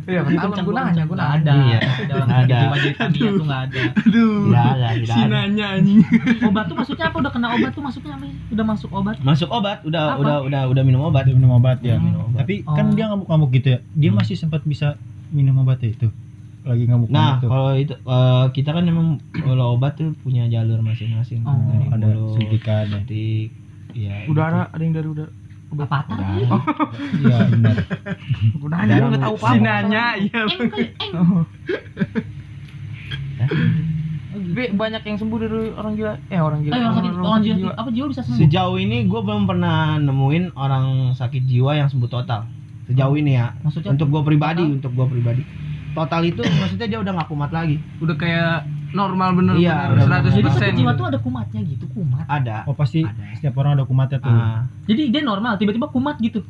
S4: Iya, pertama
S3: Kencang,
S4: gua nanya, gua nanya.
S3: kencang. Nggak ada.
S6: Iya.
S3: Ada orang
S6: Nggak
S3: sakit
S6: ada.
S3: jiwa jadi kami tuh nggak ada.
S1: Aduh.
S6: tidak ada tidak
S1: Si
S6: ada
S1: nanya anjing.
S3: Obat tuh maksudnya apa? Udah kena obat tuh maksudnya apa? Udah masuk obat.
S6: masuk obat udah
S3: Apa?
S6: udah udah udah minum obat
S2: Dia minum obat ya.
S6: Udah minum obat.
S2: Tapi kan
S3: Oh.
S2: dia ngamuk-ngamuk gitu ya. Dia
S6: Hmm.
S2: masih sempat bisa minum obatnya itu. Lagi ngamuk-ngamuk
S6: Nah,
S2: tuh.
S6: kalau itu eh, kita kan memang kalau obat tuh punya jalur masing-masing. kan.
S3: Oh,
S2: Oh, ada
S6: mulut,
S2: suntikannya.
S6: suntik, ya. Nah,
S4: Udara, ada yang dari udara.
S3: Obat patah.
S6: Udah.
S2: Iya, benar.
S4: Gua nanya, gua nggak tahu
S1: Si
S4: apa.
S1: nanya, iya.
S3: Engkel, eng.
S4: Tapi banyak yang sembuh dari orang gila. Eh, orang gila.
S1: Iya.
S3: Eh, orang sakit, orang jiwa, apa jiwa bisa sembuh?
S6: Sejauh ini gue belum pernah nemuin orang sakit jiwa yang sembuh total. Sejauh ini ya.
S3: Maksudnya
S6: Untuk gue pribadi,
S3: Total?
S6: untuk gue pribadi. Total itu maksudnya dia udah gak kumat lagi.
S1: Udah kayak normal bener
S6: Iya, udah
S3: jadi
S1: 100%.
S3: sakit jiwa tuh ada kumatnya gitu, kumat.
S6: Ada.
S2: Oh, pasti
S6: Ada.
S2: setiap orang ada kumatnya tuh.
S6: Ah,
S3: Jadi dia normal, tiba-tiba kumat gitu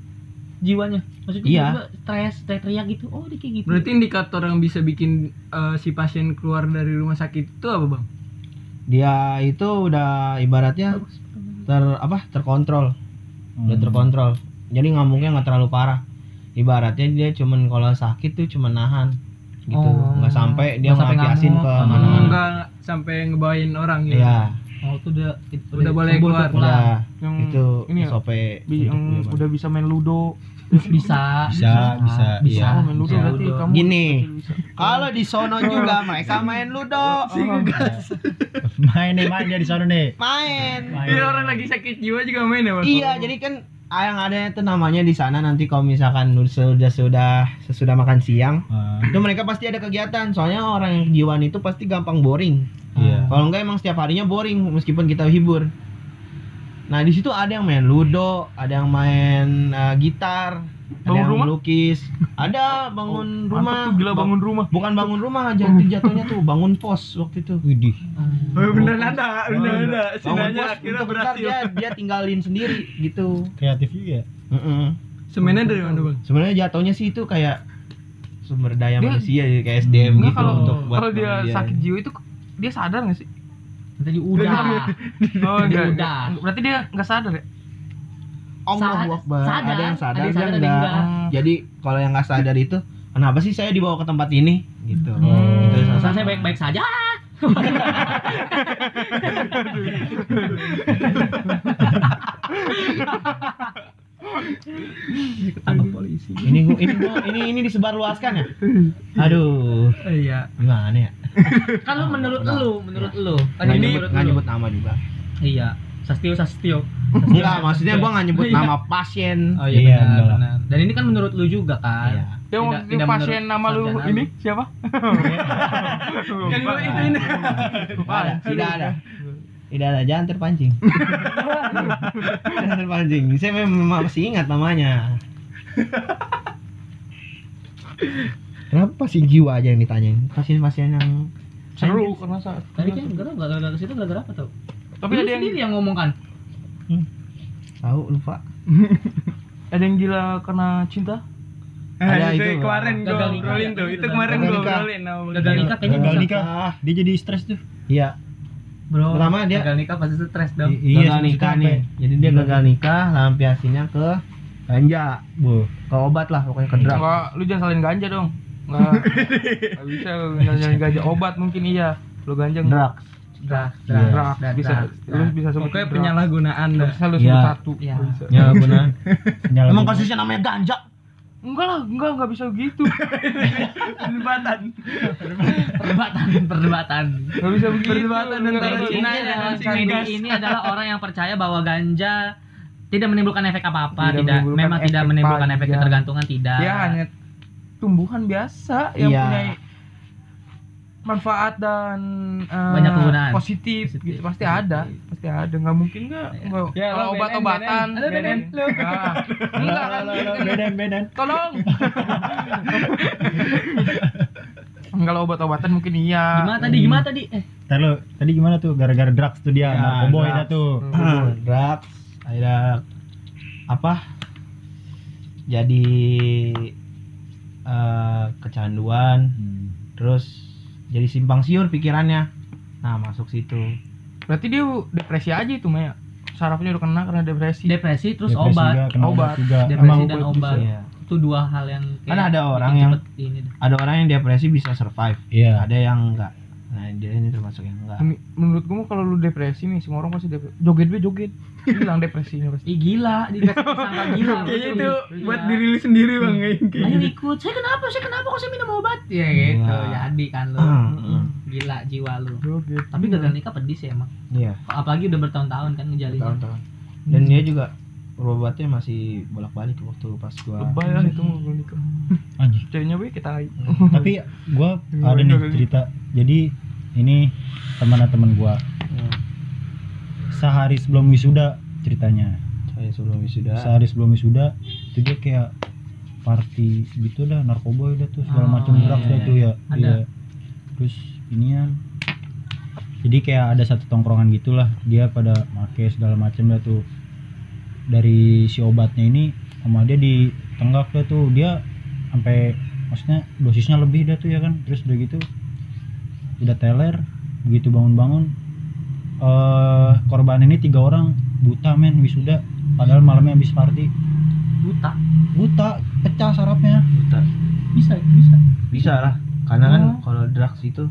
S3: jiwanya. Maksudnya
S6: Iya.
S3: tiba-tiba stres, teriak-teriak gitu. Oh, dia kayak gitu.
S1: Berarti indikator yang bisa bikin eh, si pasien keluar dari rumah sakit itu apa, Bang?
S6: dia itu udah ibaratnya ter apa terkontrol,
S2: Hmm.
S6: udah terkontrol. Jadi ngamuknya nggak terlalu parah. Ibaratnya dia cuman kalau sakit tuh cuman nahan gitu,
S3: Oh.
S6: nggak sampai dia
S3: Nggak sampai
S6: ngelampiasin
S3: ngamuk.
S6: ke
S3: Oh.
S6: mana-mana.
S1: Enggak sampai ngebawain orang ya.
S6: Hmm. Iya,
S3: Oh, itu udah itu
S1: Udah boleh
S3: sembuh,
S1: keluar.
S3: tuh,
S6: udah
S4: yang
S6: itu
S4: ini ya,
S6: SOP
S3: Iya,
S4: bi- yang
S6: untuk
S4: udah bisa main ludo.
S3: Bisa.
S2: Bisa, bisa,
S6: iya.
S3: Bisa.
S4: Oh, main ludo
S3: Bisa. Hmm.
S4: berarti kamu.
S6: Gini.
S4: bisa.
S6: Kalau di sono juga mereka main ludo,
S2: main nih, main dia di sana nih.
S6: main.
S1: Iya, orang lagi sakit jiwa juga main ya, Bang?
S6: Iya, jadi kan yang ada itu namanya di sana nanti kalau misalkan sudah sudah sesudah makan siang,
S2: Ah,
S6: itu mereka pasti ada kegiatan. Soalnya orang yang kejiwaan itu pasti gampang boring.
S2: Iya.
S6: Hmm. Kalau enggak emang setiap harinya boring meskipun kita hibur. Nah, di situ ada yang main ludo, ada yang main eh, gitar, ada
S4: Bangun
S6: yang
S4: rumah?
S6: melukis, ada bangun
S4: Mantap
S6: rumah.
S4: tuh, gila bangun rumah.
S6: Bukan bangun rumah jatuh jatuhnya tuh bangun pos waktu itu.
S2: Widih.
S1: Oh, bener ada, bener ada. Si
S6: Bangun
S1: nanya
S6: pos
S1: akhirnya
S6: untuk ntar
S1: berhasil.
S6: dia dia tinggalin sendiri gitu.
S2: Kreatif juga. ya.
S6: Mm-mm.
S1: Semennya dari mana, Bang?
S6: Sebenarnya jatuhnya sih itu kayak sumber daya
S4: Dia-
S6: manusia jadi kayak SDM
S4: Enggak
S6: gitu
S4: kalau
S6: untuk buat
S4: kalau dia
S6: manusia.
S4: sakit jiwa itu dia sadar nggak sih?
S3: Tadi udah.
S1: Iya,
S4: Oh,
S3: Dia udah.
S4: Berarti dia nggak sadar ya?
S6: Allahu
S3: Sadar,
S6: Akbar.
S3: sadar,
S6: Ada yang
S3: ada yang
S6: sadar, ada
S3: sadar,
S6: yang
S3: ada yang
S6: enggak. Hmm, Jadi kalau yang nggak sadar itu kenapa sih saya dibawa ke tempat ini gitu. Itu salah
S3: Hmm. Saya
S6: satu.
S3: baik-baik saja.
S1: Ketangkap polisi.
S6: Ini gua, ini gua, ini ini disebarluaskan ya. Aduh,
S1: Iya.
S6: gimana ya?
S3: Kalau menurut
S6: Udah.
S3: lu, menurut lu.
S6: Nggak
S3: Ini
S6: nyebut, nggak
S3: menurut lu.
S6: nyebut nama juga.
S3: Iya. Sastio Sastio.
S6: Enggak, maksudnya gua nggak nyebut
S3: Iya.
S6: nama pasien.
S3: Oh
S2: Iya,
S3: iya, benar,
S2: benar.
S3: benar. Dan ini kan menurut lu juga
S6: Iya.
S3: kan.
S4: Dia mau
S3: Tidak-
S4: dia
S3: tidak
S4: pasien
S3: menurut
S4: nama lu
S3: sarjana
S4: ini
S3: lu. Kan
S4: siapa?
S1: Yang gue itu ini.
S6: Tidak ada, tidak ada. Tidak ada, jangan terpancing. jangan terpancing. Saya memang masih ingat namanya. Kenapa pasien jiwa aja yang ditanyain? Pasien-pasien yang
S4: Seru karena saat.
S3: Tadi kan gara-gara gara-gara situ gara-gara apa tuh?
S4: Tapi
S3: Lu
S4: ada yang
S3: sendiri yang ngomong kan.
S6: tahu lupa.
S4: ada yang gila karena cinta.
S6: Ada
S1: Nah, itu
S6: itu,
S1: kemarin
S3: Bang.
S1: gue
S3: Gagal nikah.
S1: ngobrolin tuh. Itu kemarin
S6: Gagal
S1: gue
S6: nikah.
S1: ngobrolin sama Bang.
S3: Gagal nikah kayaknya
S2: Gagal
S3: bisa.
S2: nikah. Dia jadi stres tuh.
S6: Iya.
S3: Bro.
S6: Pertama dia Iya,
S3: Gagal nikah pasti stres dong.
S2: I-
S6: gagal nikah nih. Jadi dia gagal nikah, lampiasinya ke ganja ke obat lah pokoknya ke drug
S4: Enggak, lu jangan salin ganja dong. Enggak. Enggak bisa lu salin ganja. Obat mungkin iya. Lu ganja enggak.
S2: drug
S4: Drug,
S2: Iya.
S4: drug,
S8: Drug,
S4: bisa
S8: drug,
S4: lu
S8: drug.
S4: bisa sebut
S5: Pokoknya
S4: drug.
S5: penyalahgunaan
S4: Nggak
S5: dah.
S4: bisa lu
S2: Iya.
S4: sebut satu.
S3: Iya.
S4: Nggak bisa.
S2: ya guna
S6: emang
S2: gitu.
S6: konsisten namanya ganja
S4: Enggak lah, enggak enggak bisa begitu.
S5: Perdebatan.
S3: perdebatan perdebatan
S4: Enggak bisa begitu.
S5: Perdebatan
S4: Enggak
S5: antara
S4: bisa
S3: Medi
S4: begitu.
S5: Cina dan
S3: adalah,
S5: masih
S3: Medi
S5: ngegas.
S3: ini adalah orang yang percaya bahwa ganja tidak menimbulkan efek
S4: Tidak
S3: apa-apa, tidak,
S4: menimbulkan
S3: memang tidak
S4: efek
S3: menimbulkan efek
S4: panjang.
S3: ketergantungan, tidak.
S4: Dia Ya, hanya tumbuhan biasa yang
S6: Iya.
S4: punya manfaat dan eh,
S3: Banyak kegunaan.
S4: positif, gitu
S3: Positif.
S4: pasti ada pasti ada nggak mungkin nggak nggak
S5: Ya,
S4: kalau
S5: lo
S4: obat-obatan
S5: benen, benen. Lo benen,
S4: Nggak. enggak kan
S2: bedan bedan
S4: tolong kalau obat-obatan mungkin iya
S3: Gimana tadi? Gimana tadi? Eh,
S2: Ntar lu, tadi gimana tuh gara-gara drugs tuh dia
S6: Ya,
S2: narkoboy
S6: drugs.
S2: dah tuh
S6: drugs ada apa jadi eh, kecanduan terus jadi simpang siur pikirannya nah masuk situ
S4: berarti dia depresi aja itu Maya sarafnya udah kena karena depresi
S3: depresi terus
S2: Depresi
S3: obat.
S2: juga, kena
S4: Obat.
S2: juga
S3: Depresi
S2: Emang
S3: dan
S2: obat
S3: obat.
S2: juga.
S6: Iya.
S3: Itu dua hal yang
S6: Kan ada orang
S3: bikin
S6: yang-
S3: cepet ini dah.
S6: ada orang yang depresi bisa survive
S2: iya
S6: ada yang enggak nah dia ini termasuk yang enggak
S4: Men- menurut gue kalau lu depresi nih semua orang pasti depresi joget gue joget hilang depresinya pasti
S3: Ih gila, dikasih sangka gila.
S5: Kayaknya
S3: betul.
S5: itu buat
S3: Iya.
S5: diri lu sendiri bang kayak gitu.
S3: Ayo ikut. Saya kenapa? Saya kenapa kok saya minum obat? Ya gitu.
S6: Iya.
S3: Jadi kan lu.
S6: Heeh.
S3: Gila jiwa lu.
S4: joget
S3: Tapi gagal nikah pedis ya emang.
S6: iya
S3: Apalagi udah bertahun-tahun kan ngejalinnya.
S6: tahun-tahun dan dia juga berobatnya masih bolak-balik waktu pas gua
S4: lebay lah itu mau gue nikah
S2: Anjir.
S4: ceweknya gue kita aib.
S2: tapi gua ada nih cerita jadi ini teman-teman gua
S6: Hmm,
S2: sehari sebelum wisuda ceritanya
S6: saya sebelum wisuda
S2: sehari sebelum wisuda itu dia kayak party gitu dah narkoba udah tuh segala
S3: Oh,
S2: macam
S3: iya,
S2: drugs
S3: iya,
S2: dah tuh ya
S3: Ada.
S2: iya. terus inian jadi kayak ada satu tongkrongan gitulah dia pada make segala macam dah tuh dari si obatnya ini sama dia di tenggak dah tuh dia sampai maksudnya dosisnya lebih dah tuh ya kan terus udah gitu udah teler begitu bangun-bangun eh korban ini tiga orang buta men wisuda padahal malamnya habis party
S3: Buta.
S2: buta pecah sarafnya
S6: Buta.
S3: Bisa, bisa.
S6: bisa lah karena kan
S2: Oh.
S6: kalau drugs itu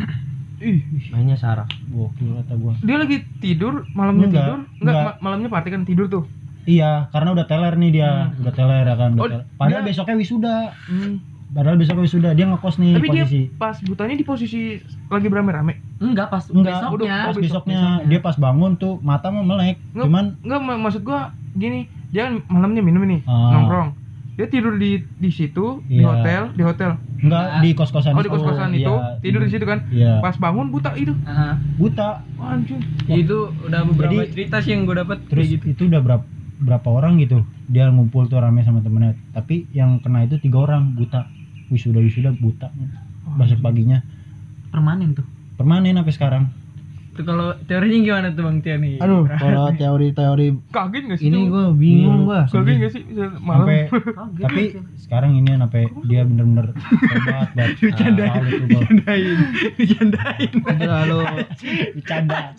S4: Ih,
S6: mainnya saraf
S2: gokil kata gua
S4: dia lagi tidur malamnya
S2: Enggak,
S4: tidur enggak,
S2: enggak.
S4: ma- malamnya party kan tidur tuh
S2: iya karena udah teler nih dia
S3: Ah.
S2: udah teler ya kan udah
S4: Oh,
S2: teler. padahal
S4: dia-
S2: besoknya wisuda padahal besoknya wisuda dia ngekos nih
S6: Iya,
S4: tapi dia
S2: posisi
S4: pas butanya di posisi lagi berame-rame
S3: Enggak pas
S2: Enggak,
S3: besoknya.
S4: udah,
S2: pas
S4: besok-
S2: besoknya,
S4: besoknya.
S2: dia pas bangun tuh mata mau melek
S4: Nggak.
S2: cuman
S4: enggak ma- maksud gua gini dia kan malamnya minum ini
S2: Ah.
S4: nongkrong dia tidur di di situ di
S2: Iya.
S4: hotel di hotel
S2: enggak
S3: Nah.
S2: di kos kosan
S4: oh di kos-kosan itu tidur di situ kan
S2: iya
S4: pas bangun buta itu
S3: Heeh.
S2: buta
S4: Wah, anjing
S5: Ya Itu udah beberapa
S2: Jadi-
S5: cerita sih yang gue dapat.
S2: terus
S4: gitu.
S2: itu udah berapa berapa orang gitu dia ngumpul tuh rame sama temennya tapi yang kena itu tiga orang buta wisuda wisuda buta
S4: Oh, gitu.
S2: besok paginya
S3: Permanen tuh.
S2: permanen sampai sekarang
S5: Itu kalau teorinya gimana tuh Bang Tia nih?
S6: aduh kalau teori-teori
S4: kaget gak sih
S6: ini
S4: tuh?
S6: gua bingung gua
S4: kaget gak sih malam
S2: sampai tapi sekarang ini
S6: kan
S2: sampai dia bener-bener hebat
S6: eh,
S2: banget
S6: Bercandain.
S2: Salut tuh gua.
S6: terlalu
S2: bercanda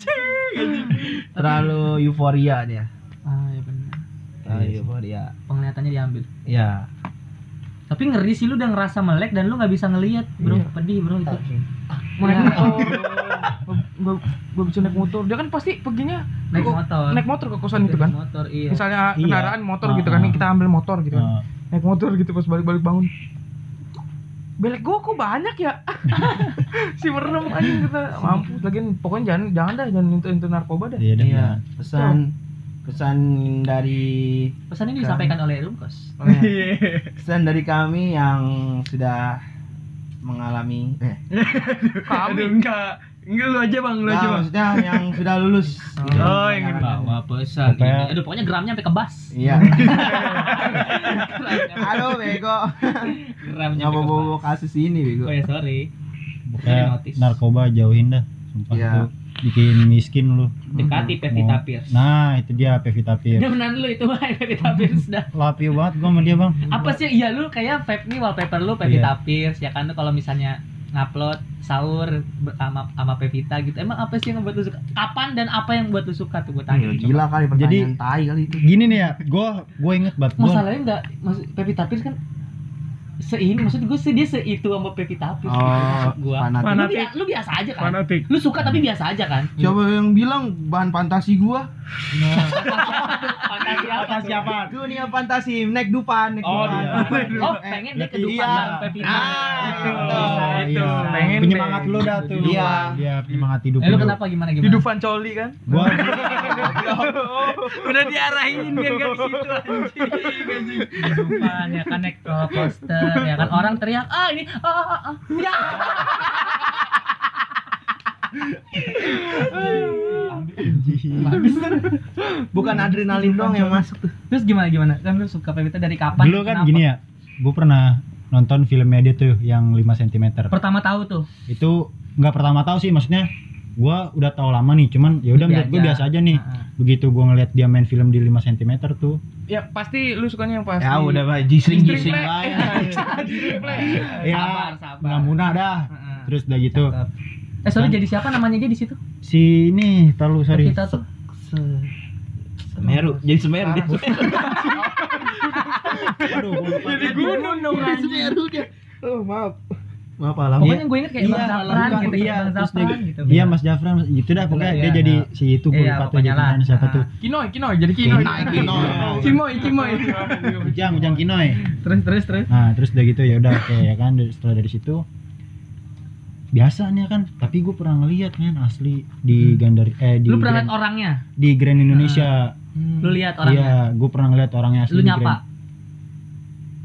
S6: terlalu euforia dia
S3: Ah, ya benar.
S6: terlalu euforia
S3: Penglihatannya diambil.
S6: ya
S3: Tapi ngeri sih lu udah ngerasa melek dan lu nggak bisa ngelihat, bro.
S4: Iya.
S3: Pedih, bro itu.
S4: mau naik motor gua, gua bisa naik motor dia kan pasti perginya
S3: Naik
S4: Gua-
S3: motor.
S4: naik motor ke kosan itu kan
S3: Motor, iya.
S4: misalnya
S2: Iya.
S4: kendaraan motor gitu
S2: Ah.
S4: kan kita ambil motor gitu kan
S2: Nah,
S4: naik motor gitu pas balik-balik bangun belek gua kok banyak ya si merem anjing kita mampus lagian pokoknya jangan jangan dah jangan itu itu narkoba dah
S2: iya dah,
S6: iya
S2: nah.
S6: pesan pesan dari
S3: Pesan ini disampaikan oleh Rumkos.
S6: oh, ya.
S5: Iya.
S6: pesan dari kami yang sudah mengalami eh,
S5: Aduh, enggak. Enggak lu aja Bang, lu aja
S6: nah,
S5: Bang.
S6: maksudnya yang sudah lulus gitu.
S5: Oh, yang ini.
S3: Bawa pesan
S2: Pokoknya-
S3: ini. Aduh, pokoknya gramnya sampai kebas.
S6: iya
S3: Gramnya-
S6: aduh bego
S3: Gramnya sampai
S6: nyoba-bobo
S3: kebas.
S6: kasus ini bego
S3: Oh ya, sorry.
S2: pokoknya
S3: Jadi notice.
S2: Ya, narkoba jauhin dah sumpah
S6: Iya.
S2: tuh bikin miskin lu
S3: Dekati Pevita Pierce.
S2: nah itu dia Pevita Pierce
S3: Udah menan lu itu Bay, Pevita Pierce dah.
S2: lapio banget gua sama dia bang
S3: Apa sih? Iya lu kayak vape nih wallpaper lu Pevita Pierce ya kan lu kalau misalnya ngupload sahur ber- sama sama Pevita gitu. Emang apa sih yang buat lu suka? Kapan dan apa yang buat lu suka tuh gue tanya.
S6: Gila, gila kali pertanyaan
S2: Jadi-
S6: tai kali itu.
S2: Gini nih ya, gue gue inget banget. Gua-
S3: Masalahnya enggak maksud Pevita Pierce kan seini maksud gue dia seitu sama Pevita Pierce gitu, maksud gua.
S6: Oh, fanatik.
S3: Lu,
S1: Fanatik.
S3: bi- lu biasa aja kan?
S1: fanatik
S3: Lu suka tapi biasa aja kan?
S6: Siapa yang bilang bahan fantasi gua?
S3: Fantasi apa? tuh?
S6: Dunia fantasi, naik dupan, naik
S2: Oh,
S6: dupan.
S2: iya.
S3: Oh, pengen dia ke
S2: Iya.
S3: Dufan Bang Pevita.
S6: Ah,
S3: Oh,
S2: itu.
S4: Pengen
S2: penyemangat
S4: deh.
S2: lu dah tuh.
S6: Iya.
S2: Dia penyemangat hidup.
S3: Eh, lu
S2: lu.
S3: kenapa gimana gimana?
S4: Hidup Fancoli kan?
S2: Gua
S1: udah diarahin kan kan di situ
S3: Kehidupan ya kan naik roller coaster ya kan orang teriak ah ini ah ah ah, ah ya
S6: Bukan adrenalin doang yang masuk tuh.
S3: terus gimana gimana kan lu suka Pevita dari kapan
S2: dulu kan gini ya, gue pernah nonton filmnya dia tuh yang 5 cm.
S3: pertama tahu tuh
S2: itu nggak pertama tahu sih maksudnya gua udah tahu lama nih cuman ya udah
S3: Biasa. Ah.
S2: menurut gua biasa aja nih
S3: Heeh.
S2: begitu gua ngeliat dia main film di 5 cm tuh
S4: Ya pasti lu sukanya yang pasti.
S6: Ya udah Pak, jisring jisring
S4: Play.
S6: lah
S3: Sabar,
S2: ya
S3: sabar. Ah.
S2: nggak munah dah terus udah gitu
S3: Cakep. eh sorry
S2: Kan?
S3: jadi siapa namanya dia di situ
S2: si ini terlalu sorry
S3: Pevita tuh
S6: Semeru, jadi Semeru dia.
S2: Aduh, gua lupa.
S1: jadi gunung dong anjing
S6: Semeru dia. Oh, maaf. Maaf alam.
S3: pokoknya gue inget kayak
S2: Iya,
S3: Bang Zafran
S2: bukan,
S3: gitu
S2: iya,
S3: kayak Bang
S2: terus
S3: Zafran
S2: dia-
S3: gitu
S2: iya Mas Jafran Mas- gitu dah pokoknya
S3: Iya,
S2: dia
S3: iya.
S2: jadi si itu gua
S3: Iya,
S2: lupa tuh
S3: pokoknya
S2: jadi
S3: lah. Ah.
S2: namanya siapa
S3: Heeh.
S2: tuh
S4: Kinoy, Kinoy, jadi Kinoy.
S6: Kinoy, Kinoy.
S4: Cimoy, Cimoy.
S2: Ujang Ujang Kinoy
S4: terus terus terus.
S2: Nah terus udah gitu ya udah oke ya kan dari, setelah dari situ biasa nih ya kan tapi gue pernah ngeliat kan asli di Gandar eh di
S3: Hmm. lu pernah lihat
S2: Grand,
S3: orangnya
S2: di Grand Indonesia
S5: Hmm.
S3: lu lihat orangnya
S2: iya gue pernah ngeliat orangnya asli
S3: lu
S2: di
S3: nyapa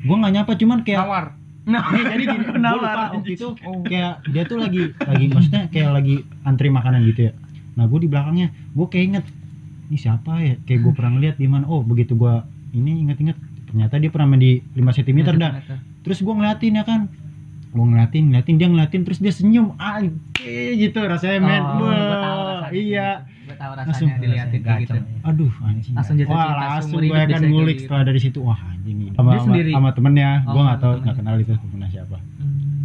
S2: gue nggak nyapa cuman kayak
S4: Nawar.
S1: Nah,
S5: Nah,
S2: Nih, jadi gini gue lupa
S1: Nawar,
S2: waktu itu
S3: Oh.
S2: kayak dia tuh lagi lagi maksudnya kayak lagi antri makanan gitu ya nah gue di belakangnya gue kayak inget ini siapa ya kayak
S3: Hmm.
S2: gue pernah ngeliat di mana oh begitu gue ini inget-inget ternyata dia pernah main di 5 cm
S3: Hmm.
S2: dah terus gue ngeliatin ya kan gue ngeliatin ngeliatin dia ngeliatin terus dia senyum anjir gitu rasanya men
S3: Oh, gua
S2: Wah,
S3: tahu rasanya.
S2: iya
S3: gue tahu Hmm.
S2: Langsung.
S3: rasanya diliatin kayak gitu
S2: aduh anjing
S3: Langsung jatuh
S2: wah
S3: cinta
S2: langsung
S3: seumur
S2: gue
S3: hidup
S2: kan
S3: bisa
S2: ngulik
S3: kayak gitu.
S2: setelah dari situ wah anjing ini sama, sama,
S3: sendiri?
S2: sama temennya
S3: Oh,
S2: gue nggak
S3: sama
S2: tahu nggak
S3: temennya.
S2: kenal itu temennya siapa
S3: Hmm.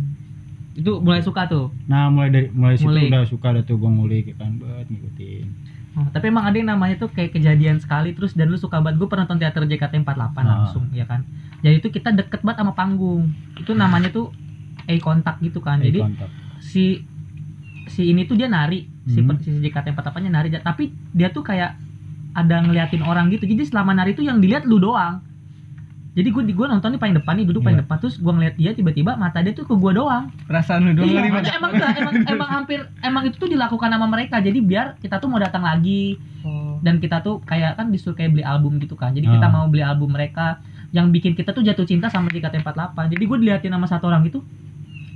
S3: itu mulai suka tuh
S2: nah mulai dari mulai situ
S3: Ngulik.
S2: udah suka dah tuh gue ngulik ya kan buat ngikutin
S3: Oh, tapi emang ada yang namanya tuh kayak kejadian sekali terus dan lu suka banget gue pernah nonton teater JKT48
S2: Ah.
S3: langsung ya kan jadi itu kita deket banget sama panggung itu namanya tuh eye contact gitu kan
S2: Eye
S3: jadi
S2: contact.
S3: si si ini tuh dia nari si
S2: Mhm.
S3: per- si JKT48 nya nari tapi dia tuh kayak ada ngeliatin orang gitu jadi selama nari tuh yang dilihat lu doang jadi gue gue nonton di paling depan nih duduk paling
S2: Iya.
S3: depan terus gue ngeliat dia tiba-tiba mata dia tuh ke gue doang
S1: perasaan lu doang
S3: Iya,
S1: kali
S3: emang,
S1: Bang.
S3: emang, enggak, emang, emang hampir emang itu tuh dilakukan sama mereka jadi biar kita tuh mau datang lagi
S4: Hmm.
S3: dan kita tuh kayak kan disuruh kayak beli album gitu kan jadi kita
S2: Ah.
S3: mau beli album mereka yang bikin kita tuh jatuh cinta sama JKT48 jadi gue diliatin sama satu orang itu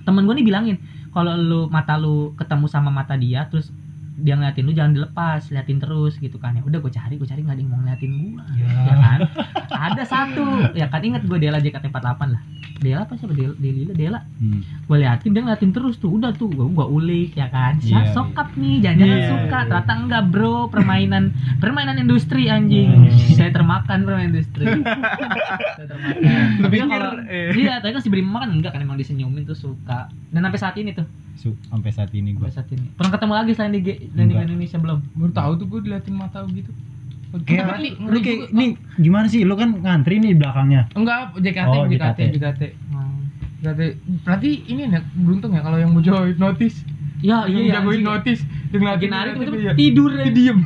S3: temen gue nih bilangin kalau lu mata lu ketemu sama mata dia terus dia ngeliatin lu jangan dilepas liatin terus gitu kan ya udah gue cari gue cari nggak ada yang mau ngeliatin gue ya kan ada satu ya kan inget gue Dela JKT48 lah Dela apa siapa Dela Dela, Dela
S2: Hmm.
S3: gue liatin dia ngeliatin terus tuh udah tuh gue gua ulik ya kan si
S2: Iya,
S3: sokap nih jangan-jangan
S2: Iya,
S3: suka
S2: iya.
S3: ternyata enggak bro permainan permainan industri anjing
S2: Hmm.
S3: saya termakan permainan industri saya termakan
S1: Lu
S3: tapi kan
S1: pikir
S3: kalau
S1: eh
S3: iya tapi kan sebelum makan enggak kan emang disenyumin tuh suka dan sampai saat ini tuh
S2: Su- sampai saat ini gue
S3: sampai saat ini pernah ketemu lagi selain di G- selain di
S2: Enggak.
S3: Indonesia belum
S4: Baru tahu tuh gue diliatin mata gitu.
S2: kayak
S3: Tapi
S2: lu kayak nih gimana sih lu kan ngantri nih di belakangnya
S4: Enggak, JKT,
S2: Oh,
S4: JKT,
S2: JKT.
S4: JKT.
S3: Hmm.
S4: JKT. Berarti ini nih beruntung ya kalau yang mau jauh hipnotis.
S3: ya iya
S4: Yang jago
S3: anjing.
S4: hipnotis. Dia
S3: lagi
S4: ngeliatin
S3: narik
S4: ngeliatin,
S3: tiba
S4: iya.
S3: tidur diem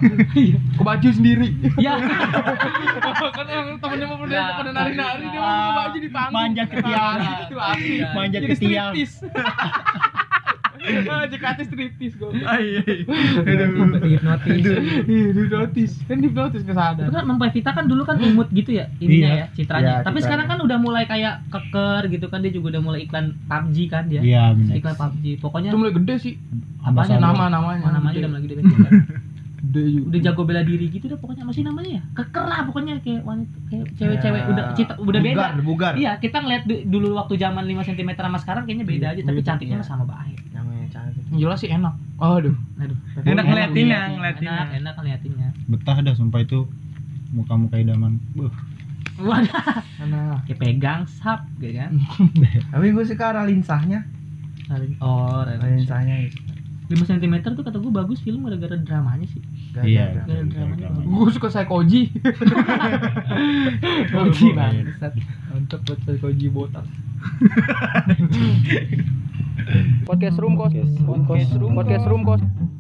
S4: Ke baju sendiri.
S3: ya
S4: kan emang temennya mau pada
S3: Ya.
S4: pada nari-nari dia mau ke baju di panggung.
S2: Manja ke tiang.
S4: Nah, Itu asli.
S2: Manja
S4: Jadi
S2: ke tiang.
S4: striptis. Ah, JKT striptis gue.
S1: ah, iya, iya.
S3: hipnotis
S4: Hipnotis. Kan hipnotis kesana.
S3: Itu kan Mempelai Vita kan dulu kan imut gitu ya
S2: Iya.
S3: ininya ya citranya.
S6: Iya,
S3: Tapi
S6: citranya.
S3: sekarang kan udah mulai kayak keker gitu kan dia juga udah mulai iklan PUBG kan dia.
S2: iya bener
S3: Iklan PUBG. Pokoknya
S4: Itu mulai gede sih.
S2: Ambasador.
S4: Nama namanya.
S3: mana Iya. Oh, namanya udah
S4: Gede.
S3: mulai gede banget kan.
S4: Gede juga.
S3: Udah jago bela diri gitu dah pokoknya masih namanya ya. Keker lah pokoknya kayak wanita kayak cewek-cewek udah cita, udah beda.
S6: Iya. Bugar, bugar.
S3: Iya, kita ngeliat du- dulu waktu zaman 5 cm sama sekarang kayaknya beda
S6: Iya,
S3: aja tapi
S6: beda,
S3: cantiknya
S6: iya.
S3: mah sama baik.
S6: Namanya cantik.
S4: Yang jelas sih enak. Aduh.
S3: Aduh.
S1: Enak ngeliatinnya,
S3: Enak,
S1: ngeliatinnya.
S3: Enak, enak ngeliatinnya.
S2: betah dah sumpah itu muka-muka idaman Beuh.
S3: Wadah,
S4: Enak.
S3: kayak pegang sap gitu kan.
S6: Tapi gue suka arah linsahnya.
S3: Oh,
S5: Lensa-nya gitu.
S3: 5 cm tuh kata gue bagus film gara-gara dramanya sih.
S5: Gak
S2: Iya,
S5: ada.
S3: Gara-gara dramanya.
S2: dramanya.
S3: bagus.
S5: Gue suka Saikoji. Koji bangsat. Mantap buat Saikoji botak.
S4: Podcast room kos. Podcast room. Podcast room kos.